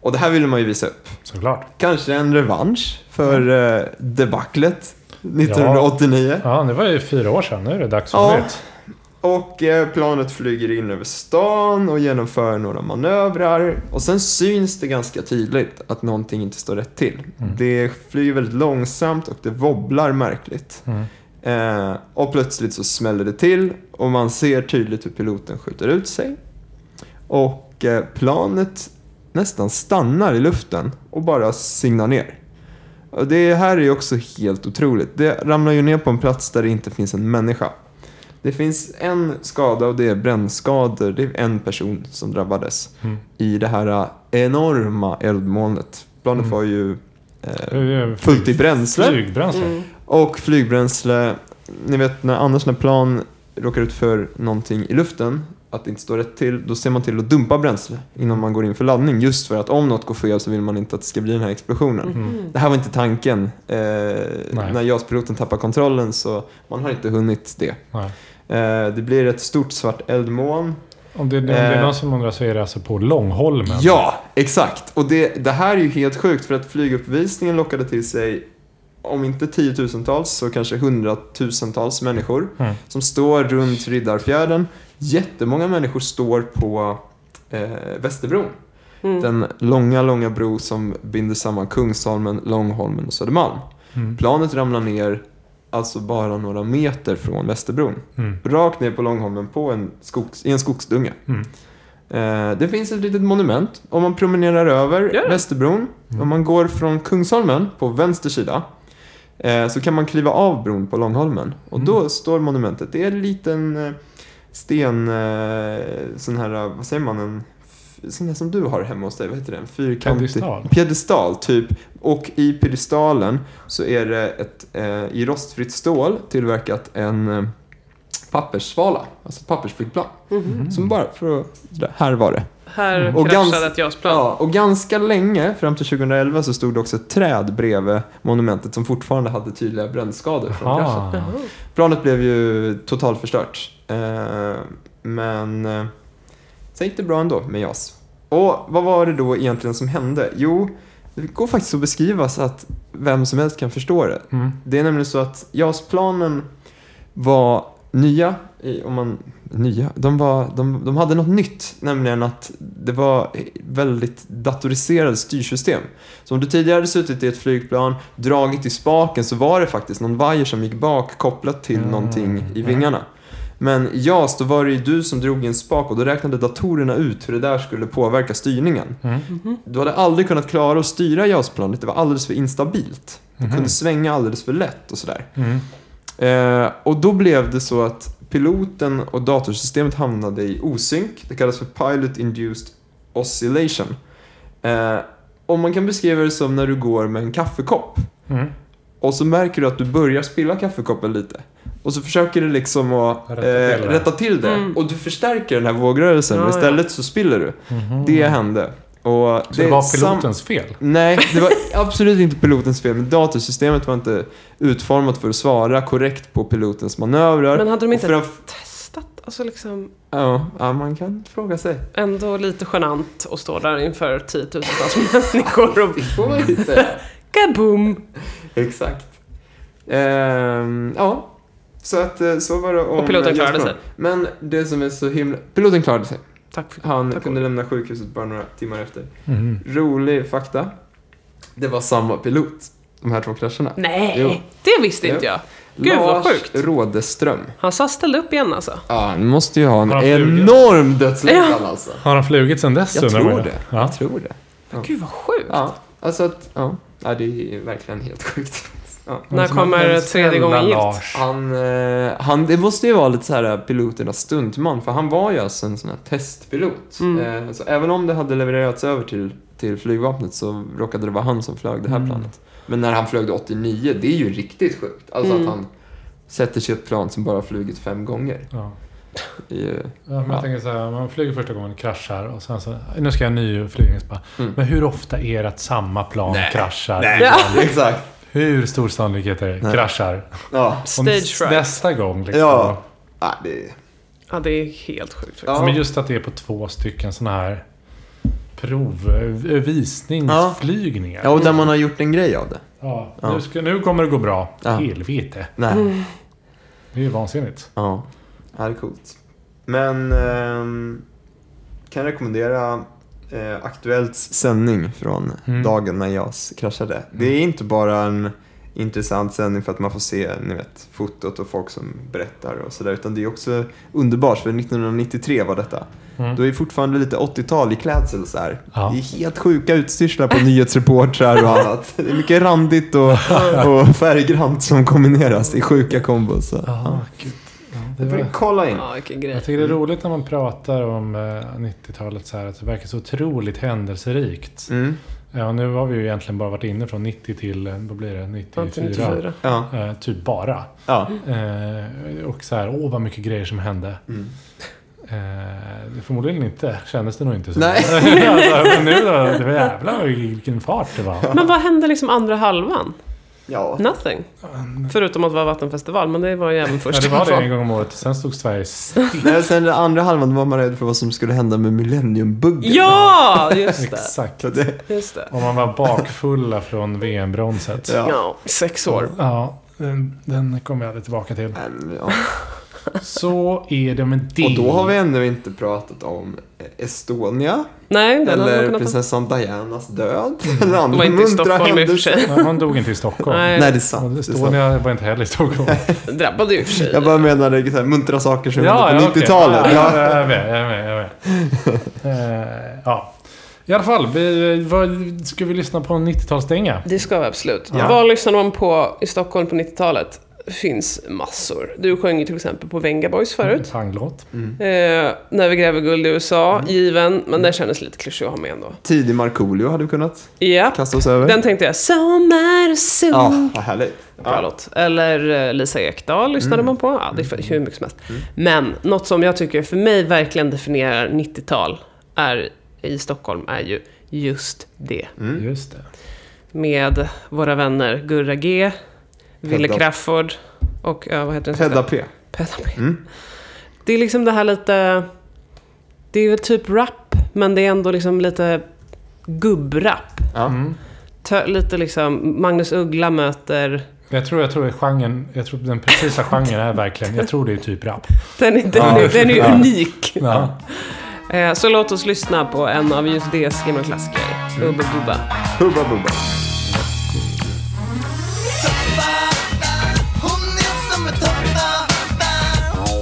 Speaker 2: Och det här ville man ju visa upp.
Speaker 3: Såklart.
Speaker 2: Kanske en revansch för
Speaker 3: Mm.
Speaker 2: eh, debaclet 1989.
Speaker 3: Ja, det var ju fyra år sedan. Nu är det dags för
Speaker 2: Ja.
Speaker 3: nytt.
Speaker 2: Och eh, planet flyger in över stan och genomför några manövrar. Och sen syns det ganska tydligt att någonting inte står rätt till. Det flyger väldigt långsamt och det wobblar märkligt.
Speaker 3: Mm.
Speaker 2: Eh, och plötsligt så smäller det till och man ser tydligt hur piloten skjuter ut sig. Och eh, planet nästan stannar i luften och bara signar ner. Och det här är ju också helt otroligt. Det ramlar ju ner på en plats där det inte finns en människa. Det finns en skada och det är brännskador. Det är en person som drabbades
Speaker 3: Mm.
Speaker 2: i det här eh, enorma eldmolnet. Planet var ju eh, fullt i bränsle.
Speaker 3: Flygbränsle.
Speaker 1: Mm.
Speaker 2: Och flygbränsle, ni vet när annars när plan råkar ut för någonting i luften, att det inte står rätt till, då ser man till att dumpa bränsle innan man går in för laddning. Just för att om något går fel så vill man inte att det ska bli den här explosionen.
Speaker 1: Mhm.
Speaker 2: Det här var inte tanken. Eh, när JAS-piloten tappar kontrollen så man har inte hunnit det.
Speaker 3: Nej.
Speaker 2: Eh, det blir ett stort svart eldmoln.
Speaker 3: Om det, om det är
Speaker 2: Eh.
Speaker 3: någon som undrar så är det alltså på Långholmen.
Speaker 2: Ja, exakt. Och det, det här är ju helt sjukt för att flyguppvisningen lockade till sig om inte tiotusentals så kanske hundratusentals människor
Speaker 3: Mm.
Speaker 2: som står runt Riddarfjärden. Jättemånga människor står på eh, Västerbron.
Speaker 1: Mm.
Speaker 2: Den långa, långa bro som binder samman Kungsholmen, Långholmen och Södermalm.
Speaker 3: Mm.
Speaker 2: Planet ramlar ner alltså bara några meter från Västerbron.
Speaker 3: Mm.
Speaker 2: Rakt ner på Långholmen på en skogs, i en skogsdunge.
Speaker 3: Mm.
Speaker 2: Eh, det finns ett litet monument. Om man promenerar över
Speaker 1: Gör det.
Speaker 2: Västerbron, om man går från Kungsholmen på vänster sida, eh, så kan man kliva av bron på Långholmen. Och då står monumentet. Det är en liten eh, sten, eh, sån här, eh, vad säger man, en f- sån här som du har hemma hos dig, vad heter den? Fyrkantig...
Speaker 3: Pedestal.
Speaker 2: Piedestal, typ. Och i piedestalen så är det ett, eh, i rostfritt stål tillverkat en eh, papperssvala, alltså ett pappersflygplan.
Speaker 1: Mm.
Speaker 2: Som bara för att, sådär, här var det.
Speaker 1: Här
Speaker 2: Mm. Och
Speaker 1: kraschade
Speaker 2: gans-
Speaker 1: ett JAS-plan.
Speaker 2: Ja, och ganska länge, fram till 2011, så stod det också ett träd bredvid monumentet som fortfarande hade tydliga brännskador från kraschen.
Speaker 3: Jaha.
Speaker 1: Jaha.
Speaker 2: Planet blev ju totalförstört. Eh, men eh, sen gick det bra ändå med JAS. Och vad var det då egentligen som hände? Jo, det går faktiskt att beskriva så att vem som helst kan förstå det.
Speaker 3: Mm.
Speaker 2: Det är nämligen så att JAS-planen var nya, i- om man, nya, de, var, de, de hade något nytt, nämligen att det var väldigt datoriserade styrsystem. Så om du tidigare hade suttit i ett flygplan, dragit i spaken, så var det faktiskt någon vajer som gick bak kopplat till
Speaker 3: Mm.
Speaker 2: någonting i vingarna. Men i JAS, då var det ju du som drog i en spak och då räknade datorerna ut hur det där skulle påverka styrningen.
Speaker 3: Mm.
Speaker 1: Mhm.
Speaker 2: Du hade aldrig kunnat klara att styra JAS-planet, det var alldeles för instabilt. Det
Speaker 3: Mhm.
Speaker 2: kunde svänga alldeles för lätt och sådär.
Speaker 3: Mm.
Speaker 2: Eh, och då blev det så att piloten och datorsystemet hamnade i osynk. Det kallas för Pilot Induced Oscillation. Eh, och man kan beskriva det som när du går med en kaffekopp
Speaker 3: Mm.
Speaker 2: och så märker du att du börjar spilla kaffekoppen lite. Och så försöker du liksom att eh,
Speaker 3: Rätta till det.
Speaker 2: rätta till det.
Speaker 1: Mm.
Speaker 2: Och du förstärker den här vågrörelsen.
Speaker 1: Ja,
Speaker 2: men istället så spiller du.
Speaker 3: Mhm.
Speaker 2: Det hände. Och
Speaker 3: Så det,
Speaker 2: är
Speaker 3: var
Speaker 2: sam-
Speaker 3: pilotens fel?
Speaker 2: Nej, det var absolut inte pilotens fel. Men datorsystemet var inte utformat för att svara korrekt på pilotens manövrar.
Speaker 1: Men hade de
Speaker 2: Och
Speaker 1: inte
Speaker 2: framf-
Speaker 1: testat? Alltså liksom
Speaker 2: ja, ja, man kan fråga sig.
Speaker 1: ändå lite genant att stå där inför tiotusentals människor och
Speaker 2: får man ju säga.
Speaker 1: kaboom!
Speaker 2: Exakt. Ehm, ja, så att eh, så var det om
Speaker 1: Och piloten klarade sig.
Speaker 2: Men det som är så himla... Piloten klarade sig.
Speaker 1: Tack för
Speaker 2: Han
Speaker 1: Tack
Speaker 2: kunde lämna sjukhuset bara några timmar efter.
Speaker 3: Mhm.
Speaker 2: Rolig fakta. Det var samma pilot, de här två krascherna.
Speaker 1: Nej,
Speaker 2: Jo.
Speaker 1: det visste inte
Speaker 2: Jo.
Speaker 1: jag. Gud, vad
Speaker 2: Lars
Speaker 1: sjukt.
Speaker 2: Rådeström.
Speaker 1: Han sa ställde upp igen alltså.
Speaker 2: Ja, han måste ju ha en
Speaker 3: Han har flugit.
Speaker 2: enorm dödslängtan
Speaker 1: Ja.
Speaker 2: alltså.
Speaker 3: Har han flugit sedan dess?
Speaker 2: Jag
Speaker 3: undrar
Speaker 2: tror
Speaker 3: man ju.
Speaker 2: det.
Speaker 3: Ja.
Speaker 2: Jag tror det. Ja.
Speaker 1: Gud vad sjukt.
Speaker 2: Ja, alltså att... Ja, ja det är verkligen helt sjukt. Ja.
Speaker 1: När
Speaker 3: Men-
Speaker 1: kommer
Speaker 3: men
Speaker 1: tredje
Speaker 3: snälla
Speaker 1: gången gillt?
Speaker 3: Lars.
Speaker 2: Han, eh, han, det måste ju vara lite så här eh, piloternas stuntman, för han var ju alltså en sån här testpilot.
Speaker 1: Mm.
Speaker 2: Eh, så även om det hade levererats över till, till flygvapnet så råkade det vara han som flög det här
Speaker 3: Mm.
Speaker 2: planet. Men när han flög det 89, det är ju riktigt sjukt. Alltså
Speaker 1: Mm.
Speaker 2: att han sätter sig i ett plan som bara har flugit fem gånger.
Speaker 3: Ja.
Speaker 2: I, eh,
Speaker 3: Ja, men
Speaker 2: Ja.
Speaker 3: jag tänker så här, man flyger första gången, kraschar och sen så, nu ska jag nyflyga.
Speaker 2: Mm.
Speaker 3: Men hur ofta är det att samma plan kraschar?
Speaker 1: Ja.
Speaker 2: Exakt.
Speaker 3: Hur stor sannolikhet är det?
Speaker 2: Nej.
Speaker 3: Kraschar.
Speaker 2: Ja.
Speaker 3: Och
Speaker 1: Stage fright.
Speaker 3: nästa gång liksom.
Speaker 2: Ja. Ah, det,
Speaker 1: Ja, det är helt sjukt faktiskt.
Speaker 2: Ja.
Speaker 3: Men just att det är på två stycken sådana här prov, ö- visningsflygningar.
Speaker 2: ja, och där man har gjort en grej av det.
Speaker 3: Ja,
Speaker 2: Ja.
Speaker 3: Nu, ska, nu kommer det gå bra.
Speaker 2: Ja.
Speaker 3: Helvete.
Speaker 2: Nej.
Speaker 3: Det är ju vansinnigt.
Speaker 2: Ja, det här är coolt. Men ehm, kan rekommendera eh, Aktuellts sändning från
Speaker 3: Mm.
Speaker 2: dagen när JAS kraschade. Det är inte bara en intressant sändning för att man får se ni vet, fotot och folk som berättar och sådär. Utan det är också underbart för 1993 var detta.
Speaker 3: Mm.
Speaker 2: Då är det fortfarande lite 80-tal i klädsel så här.
Speaker 3: Ja.
Speaker 2: Det är helt sjuka utstyrslar på nyhetsreportrar och annat. Det är mycket randigt och, och färggrant som kombineras i sjuka kombos. Så.
Speaker 3: Ja, Ah, gud. Ja, det var...
Speaker 2: Kolla in.
Speaker 1: Ja, vilken grej.
Speaker 3: Jag tycker det är roligt när man pratar om eh, 90-talet så här, att det verkar så otroligt händelserikt.
Speaker 2: Mm.
Speaker 3: Ja, nu har vi ju egentligen bara varit inne från 90 till, eh, vad blir det, 94?
Speaker 1: 1994.
Speaker 2: Ja.
Speaker 3: Eh, typ bara.
Speaker 2: ja.
Speaker 3: Eh, och så här, åh vad mycket grejer som hände. Eh, förmodligen inte, kändes det nog inte så.
Speaker 2: Nej.
Speaker 3: alltså, men nu då, det var jävlar vilken fart det var.
Speaker 1: Men vad hände liksom andra halvan?
Speaker 2: ja.
Speaker 1: Nothing. Förutom att det var vattenfestival, men det var ju även
Speaker 3: Ja,
Speaker 1: första
Speaker 3: det var det en
Speaker 1: halvan.
Speaker 3: gång om året, sen stod Sverige still.
Speaker 2: Nej, sen den andra halvan var man rädd för vad som skulle hända med millenniumbuggen.
Speaker 1: Ja, just det.
Speaker 3: Exakt.
Speaker 2: Så det,
Speaker 1: Just det.
Speaker 3: Och man var bakfulla från VM-bronset.
Speaker 2: ja.
Speaker 1: Ja, sex år.
Speaker 3: Ja, den, den kommer jag aldrig tillbaka till.
Speaker 2: Nej, men, ja.
Speaker 3: Så är det med det.
Speaker 2: Och då har vi ännu inte pratat om Estonia,
Speaker 1: Nej, den hade man
Speaker 2: eller
Speaker 1: kunnat ta. Mm.
Speaker 2: prinsessan Dianas död, eller andra
Speaker 1: De var inte i Stockholm i och för sig.
Speaker 3: Nej, hon dog inte i Stockholm.
Speaker 1: Nej.
Speaker 2: Nej, det är sant.
Speaker 3: Och
Speaker 2: Det är sant.
Speaker 3: Estonia var inte heller i Stockholm.
Speaker 1: Det drabbade ju i och för sig.
Speaker 2: Jag bara menade så här, muntra saker som
Speaker 3: ja,
Speaker 2: hände
Speaker 3: ja,
Speaker 2: på
Speaker 3: okej.
Speaker 2: 90-talet.
Speaker 3: Ja,
Speaker 2: Ja.
Speaker 3: jag är med. Jag är med, jag är med. Eh, ja. I alla fall, vi, vad, ska vi lyssna på en 90-talsdänga?
Speaker 1: Det ska vi absolut.
Speaker 2: Ja.
Speaker 1: Vad lyssnade man på i Stockholm på 90-talet? finns massor. Du sjöng ju till exempel på Venga Boys förut.
Speaker 3: Panglåt.
Speaker 1: Eh, när vi gräver guld i USA,
Speaker 2: Mm.
Speaker 1: given. Men den kändes lite klyschig att ha med ändå.
Speaker 2: Tidig Markoolio hade vi kunnat
Speaker 1: Ja,
Speaker 2: kasta oss över.
Speaker 1: den tänkte jag. Sommarsolsken.
Speaker 2: Ja, vad härligt.
Speaker 1: Bra
Speaker 2: Ja. Mm.
Speaker 1: låt. Eller eh, Lisa Ekdahl lyssnade man på. Ja, det är hur mycket som helst. Men något som jag tycker för mig verkligen definierar 90-tal är, i Stockholm är ju just det.
Speaker 2: Mm.
Speaker 3: Just det.
Speaker 1: Med våra vänner Gurra G, Wille
Speaker 2: Pedda-
Speaker 1: Crafoord och ja, vad heter den sista?
Speaker 2: Pedda P.
Speaker 1: Pedda P.
Speaker 2: Mm.
Speaker 1: Det är liksom det här lite... Det är väl typ rap, men det är ändå liksom lite gubbrap.
Speaker 2: Ja.
Speaker 3: Mm.
Speaker 1: Tö- Lite liksom Magnus Uggla möter...
Speaker 3: Jag tror, jag tror genren, jag tror den precisa genren är verkligen, jag tror det är typ rap.
Speaker 1: Den är, den
Speaker 2: Ja.
Speaker 1: är, den är
Speaker 2: Ja.
Speaker 1: unik.
Speaker 3: Ja.
Speaker 1: Eh, Så låt oss lyssna på en av just det gamla klassiker,
Speaker 2: Mm.
Speaker 1: Ubbe Bubba.
Speaker 2: Hubba bubba.
Speaker 4: Hon är som ett toppa Toppa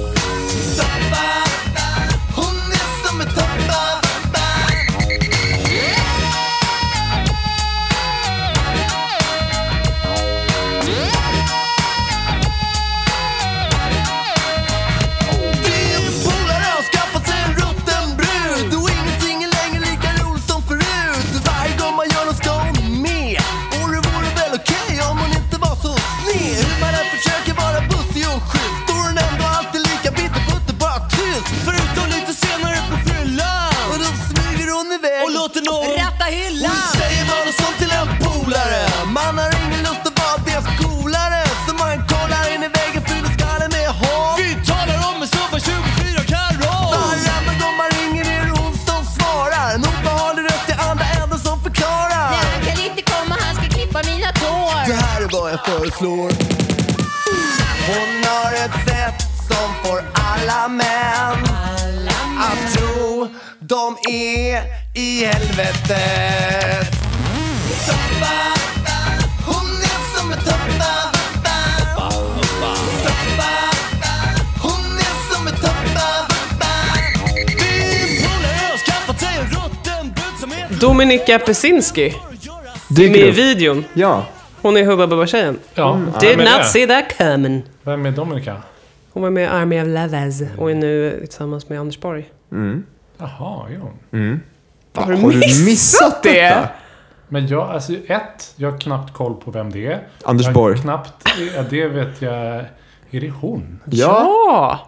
Speaker 4: Hon är som ett toppa Din polare har skaffat sig en rutten brud och ingenting är längre lika roligt som förut. Varje gång man gör något ska hon med. Och det vore väl okej om hon inte var så sned. Hur man än försöker vara bussig och schysst står hon ändå alltid lika bitterputter, bara tyst. Förutom lite senare på fyllan. Och då smyger hon iväg och låter någon ratta hyllan. Hon säger bara sånt till en polare. Man har ingen lust att vara deras coolare. Så man kollar in i väggen, fyller skallen med hopp.
Speaker 5: Vi talar om en soppa 24 karat
Speaker 4: Varenda gång man ringer är det hon som svarar. En obehaglig röst i andra änden som förklarar.
Speaker 5: Nej han kan inte komma, han ska klippa mina tår
Speaker 4: Det här är vad jag föreslår. Hon har ett sätt som får alla män att tro de är i helvetet. Toppa, hon är som en toppa. Toppa, hon är som en toppa.
Speaker 5: Din polare har skaffat sig en rutten brud som är
Speaker 1: Dominika Pesinski med i
Speaker 2: Dyker upp.
Speaker 1: videon.
Speaker 2: Ja. Hon
Speaker 1: Hon är Hubba Bubba-tjejen.
Speaker 3: Ja,
Speaker 2: Mm.
Speaker 1: Did
Speaker 3: vem är det?
Speaker 1: not see that coming.
Speaker 3: Vem är Dominika?
Speaker 1: Hon var med i Army of Lovers och är nu tillsammans med Anders Borg.
Speaker 3: Jaha, jo.
Speaker 1: Har du
Speaker 2: missat
Speaker 1: det?
Speaker 2: detta?
Speaker 3: Men jag, alltså ett, jag har knappt koll på vem det är.
Speaker 2: Anders
Speaker 3: jag har
Speaker 2: Borg.
Speaker 3: Knappt, ja, det vet jag. Är det hon?
Speaker 2: Ja.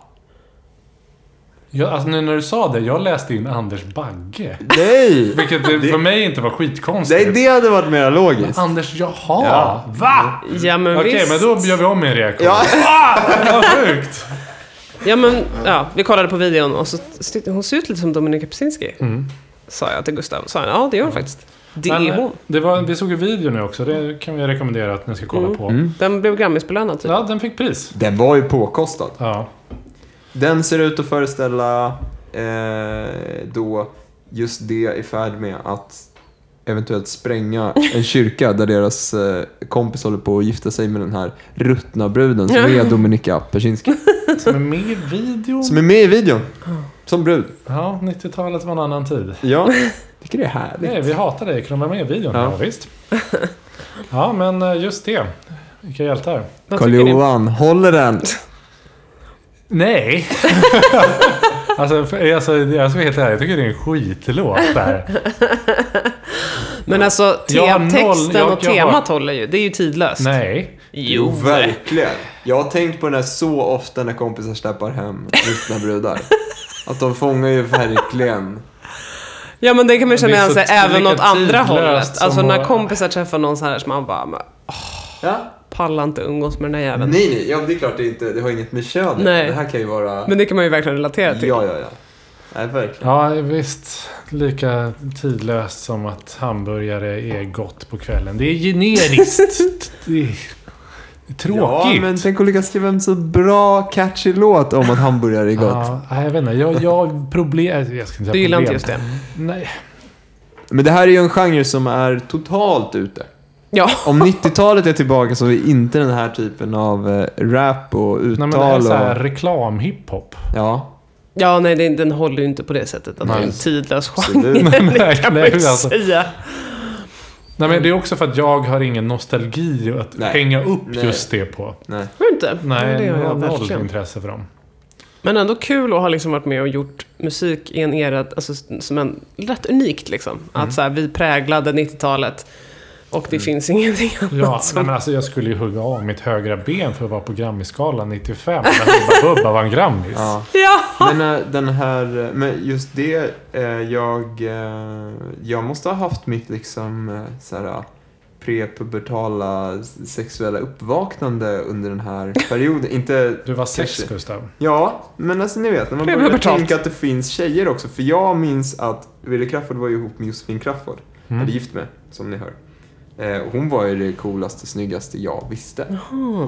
Speaker 3: Jag, alltså nu när du sa det, jag läste in Anders Bagge.
Speaker 2: Nej.
Speaker 3: Vilket det, för mig inte var skitkonstigt.
Speaker 2: Nej, det hade varit mer logiskt.
Speaker 3: Anders, jaha!
Speaker 2: Ja.
Speaker 3: Va?
Speaker 1: Ja, men
Speaker 3: Okej,
Speaker 1: visst.
Speaker 3: men då gör vi om min reaktion.
Speaker 2: Ja.
Speaker 3: Ah, vad sjukt!
Speaker 1: Ja, men ja, vi kollade på videon och så st- hon ser ut lite som Dominika Pesinski. Sa jag till Gustav. Sa han, ja det gör hon faktiskt. Det
Speaker 3: Mm. Men, eh,
Speaker 1: är hon.
Speaker 3: Det var, vi såg ju video nu också. Det kan vi rekommendera att ni ska kolla
Speaker 2: Mm.
Speaker 3: på.
Speaker 1: Den blev Grammisbelönad typ.
Speaker 3: Ja, den fick pris.
Speaker 2: Den var ju påkostad.
Speaker 3: Ja.
Speaker 2: Den ser ut att föreställa eh, då just det i färd med att eventuellt spränga en kyrka där deras eh, kompis håller på att gifta sig med den här ruttna bruden som är Dominika Persinski.
Speaker 3: Som är med i videon.
Speaker 2: Som är med i videon. Som brud.
Speaker 3: Ja, 90-talet var en annan tid.
Speaker 2: Ja. Tycker det är härligt.
Speaker 3: Nej, vi hatar dig. Kunde vara med i videon? Ja,
Speaker 2: Ja.
Speaker 3: visst. Ja, men eh, just det. Vilka hjältar.
Speaker 1: Vad tycker ni?
Speaker 2: Karl-Johan, håller den.
Speaker 3: Nej. alltså, för, alltså, jag ska vara helt ärlig. Jag tycker det är en skitlåt där.
Speaker 1: Men alltså, te-
Speaker 3: Jag har noll-
Speaker 1: texten
Speaker 3: jag-
Speaker 1: och
Speaker 3: jag har-
Speaker 1: temat håller ju. Det är ju tidlöst.
Speaker 3: Nej.
Speaker 1: Jo.
Speaker 2: verkligen. Jag har tänkt på den här så ofta när kompisar släpar hem ruttna brudar. Att de fångar ju verkligen.
Speaker 1: Ja men det kan man
Speaker 3: Det
Speaker 1: känna
Speaker 3: är
Speaker 1: igen
Speaker 3: så
Speaker 1: sig
Speaker 3: t-
Speaker 1: även
Speaker 3: lika
Speaker 1: åt andra
Speaker 3: tidlöst
Speaker 1: hållet.
Speaker 3: som
Speaker 1: Alltså när
Speaker 3: att-
Speaker 1: kompisar träffar någon så här som man bara, "Men,
Speaker 2: Ja.
Speaker 1: pallar inte umgås med den här jäveln.
Speaker 2: Nej, nej, ja, det är klart det, är inte, det har inget med kön att göra.
Speaker 1: Nej.
Speaker 2: Det här kan ju vara...
Speaker 1: Men det kan man ju verkligen relatera till.
Speaker 2: Ja, ja, ja. Nej, verkligen.
Speaker 3: Ja, visst. Lika tidlöst som att hamburgare är gott på kvällen. Det är generiskt. det, Tråkigt.
Speaker 2: Ja, men tänk att lyckas skriva en så bra catchy låt om att hamburgare är gott.
Speaker 3: Ja, nej, jag vet inte. Jag, jag problem... Jag ska inte säga
Speaker 1: Du gillar inte
Speaker 3: problem.
Speaker 1: just det?
Speaker 3: Nej.
Speaker 2: Men det här är ju en genre som är totalt ute.
Speaker 1: Ja.
Speaker 2: Om 90-talet är tillbaka så är inte den här typen av eh, rap och
Speaker 3: Nej, men det här är
Speaker 2: uttal
Speaker 3: så här
Speaker 2: och...
Speaker 3: reklamhiphop.
Speaker 2: Ja,
Speaker 1: Ja, nej, den, den håller ju inte på det sättet. Att det är en
Speaker 2: Nej.
Speaker 1: tidlös
Speaker 2: Absolut.
Speaker 1: genre,
Speaker 3: Nej,
Speaker 1: kan man
Speaker 3: nej,
Speaker 1: ju
Speaker 3: alltså.
Speaker 1: säga.
Speaker 3: Nej, men det är också för att jag har ingen nostalgi att
Speaker 2: Nej.
Speaker 3: hänga upp
Speaker 2: Nej.
Speaker 3: just det på.
Speaker 2: nej.
Speaker 1: Har du inte?
Speaker 3: Nej,
Speaker 1: Ja, det
Speaker 3: jag
Speaker 1: har
Speaker 3: har
Speaker 1: jag
Speaker 3: noll
Speaker 1: verkligen.
Speaker 3: intresse för dem.
Speaker 1: Men ändå kul att ha liksom varit med och gjort musik i en era alltså, som är rätt unikt. Liksom.
Speaker 3: Mm.
Speaker 1: Att så här, vi präglade 90-talet och det finns ingenting annat
Speaker 3: Ja, nej,
Speaker 1: som...
Speaker 3: men alltså, jag skulle ju hugga av mitt högra ben för att vara på Grammisgalan 95. När Hubba Bubba vann Grammis.
Speaker 2: Ja.
Speaker 1: Ja!
Speaker 2: Men eh, den här, eh, men just det, eh, jag, eh, jag måste ha haft mitt liksom eh, så här, eh, prepubertala sexuella uppvaknande under den här perioden. Inte
Speaker 3: Du var sex,
Speaker 2: Kanske.
Speaker 3: Gustav.
Speaker 2: Ja, men alltså ni vet, när man börjar
Speaker 1: Prepubertalt.
Speaker 2: tänka att det finns tjejer också. För jag minns att Wille Crafoord var ju ihop med Josefin Crafoord.
Speaker 3: Mm.
Speaker 2: Eller gift med, som ni hör. Eh, och hon var ju det coolaste, snyggaste jag visste.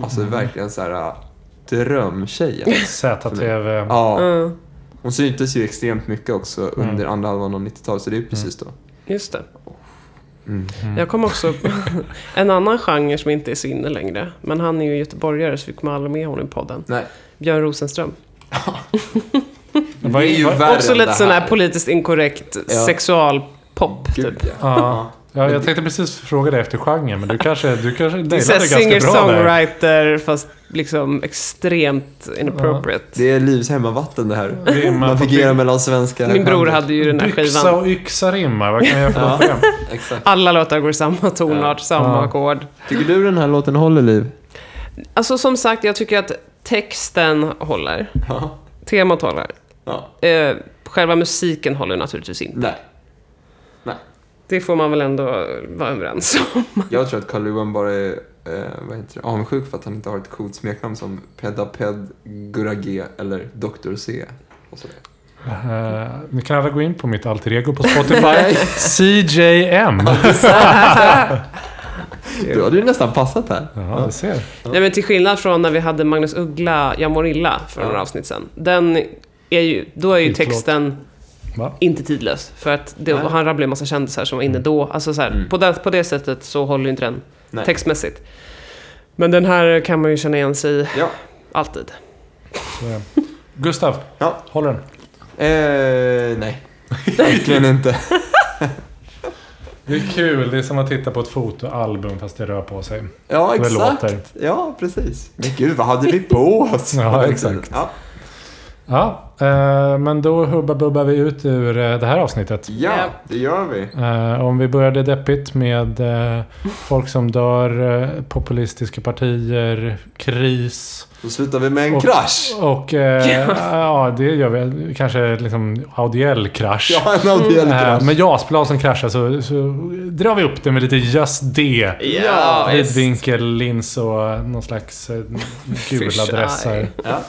Speaker 2: Alltså verkligen så här äh, drömtjejen.
Speaker 3: Mm. ZTV.
Speaker 2: Ja, Mm.
Speaker 1: Mm,
Speaker 2: hon syntes ju extremt mycket också under andra halvan av 90-talet, så det är ju precis då.
Speaker 1: just det.
Speaker 2: Mm.
Speaker 3: Mm-hmm.
Speaker 1: Jag kom också en annan genre som inte är så inne längre. Men han är ju göteborgare så vi kommer aldrig med honom i podden.
Speaker 2: Nej,
Speaker 1: Björn Rosenström.
Speaker 2: det är ju värre
Speaker 1: Också
Speaker 2: än
Speaker 1: lite
Speaker 2: det
Speaker 1: sån här
Speaker 2: här.
Speaker 1: politiskt inkorrekt
Speaker 2: Ja.
Speaker 1: sexualpop typ.
Speaker 2: Gud, ja.
Speaker 3: Ja. Ja, jag tänkte precis fråga dig efter genren, men du kanske... Du kanske
Speaker 1: Det är
Speaker 3: nailade
Speaker 1: såhär
Speaker 3: det ganska bra där.
Speaker 1: singer-songwriter fast liksom extremt inappropriate.
Speaker 2: Det är livs hemmavatten det här.
Speaker 3: Det är man
Speaker 2: Man
Speaker 3: får
Speaker 2: figurerar
Speaker 3: by-
Speaker 2: mellan svenska
Speaker 1: Min bror
Speaker 2: genrer.
Speaker 1: hade ju den här
Speaker 3: Byxa
Speaker 1: skivan.
Speaker 3: och yxa rimmar. Vad kan jag göra för
Speaker 2: Ja.
Speaker 3: något för det?
Speaker 2: Exakt.
Speaker 1: Alla låtar går i samma tonart, samma
Speaker 3: Ja.
Speaker 1: ackord.
Speaker 2: Tycker du den här låten håller liv?
Speaker 1: Alltså som sagt, jag tycker att texten håller.
Speaker 2: Ja.
Speaker 1: Temat håller.
Speaker 2: ja.
Speaker 1: Eh, själva musiken håller naturligtvis inte.
Speaker 2: Nej. Nej.
Speaker 1: Det får man väl ändå vara överens om.
Speaker 2: Jag tror att Carl Johan bara är eh, vad heter det, avundsjuk för att han inte har ett coolt smeknamn som Pedaped, Gurra G eller Dr. C. Och sådär.
Speaker 3: Eh, ni kan alla gå in på mitt alter ego på Spotify. CJM.
Speaker 2: Du hade ju nästan passat här.
Speaker 3: Ja, du ser.
Speaker 1: Nej, men till skillnad från när vi hade Magnus Uggla, Jag mår illa, för
Speaker 2: Ja.
Speaker 1: några avsnitt sen. Den är ju, då är ju
Speaker 3: Skitlåt.
Speaker 1: texten
Speaker 3: Va?
Speaker 1: inte tidlös. För att det,
Speaker 2: Nej. Mm.
Speaker 1: han rabblade en massa kändisar som var inne då. Alltså så här, på, det, på det sättet så håller ju inte den
Speaker 2: Nej.
Speaker 1: textmässigt. Men den här kan man ju känna igen sig i
Speaker 2: Ja.
Speaker 1: alltid.
Speaker 3: Så är det. Gustav,
Speaker 2: ja.
Speaker 3: håll den.
Speaker 2: Eh, nej. Verkligen inte.
Speaker 3: Det är kul. Det är som att titta på ett fotoalbum fast det rör på sig.
Speaker 2: Ja,
Speaker 3: Det
Speaker 2: exakt.
Speaker 3: låter.
Speaker 2: Ja, precis. Men gud, vad hade vi på oss?
Speaker 3: Ja, exakt.
Speaker 2: Ja.
Speaker 3: Ja, eh, men då hubba bubbar vi ut ur eh, det här avsnittet.
Speaker 2: ja, det gör vi.
Speaker 3: Eh, om vi började deppigt med eh, folk som dör, eh, populistiska partier, kris.
Speaker 2: Då slutar vi med en
Speaker 3: Och-
Speaker 2: krasch.
Speaker 3: Och eh, ja, det gör vi. Kanske liksom audiell krasch.
Speaker 2: Ja, en audiell krasch.
Speaker 3: Eh, med JAS-plan som kraschar så, så drar vi upp det med lite just det.
Speaker 1: Ja, visst.
Speaker 3: Vidvinkel, lins och eh, någon slags eh, gula
Speaker 1: Fish
Speaker 3: dressar.
Speaker 1: eye.
Speaker 2: Ja.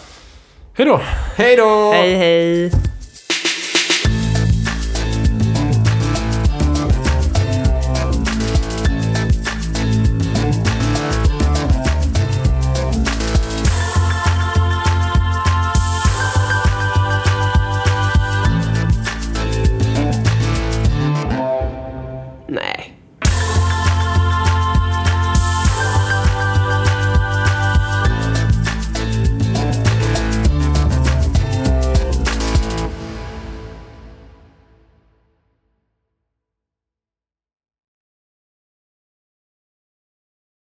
Speaker 3: Hej då!
Speaker 2: Hej då!
Speaker 1: Hej hej!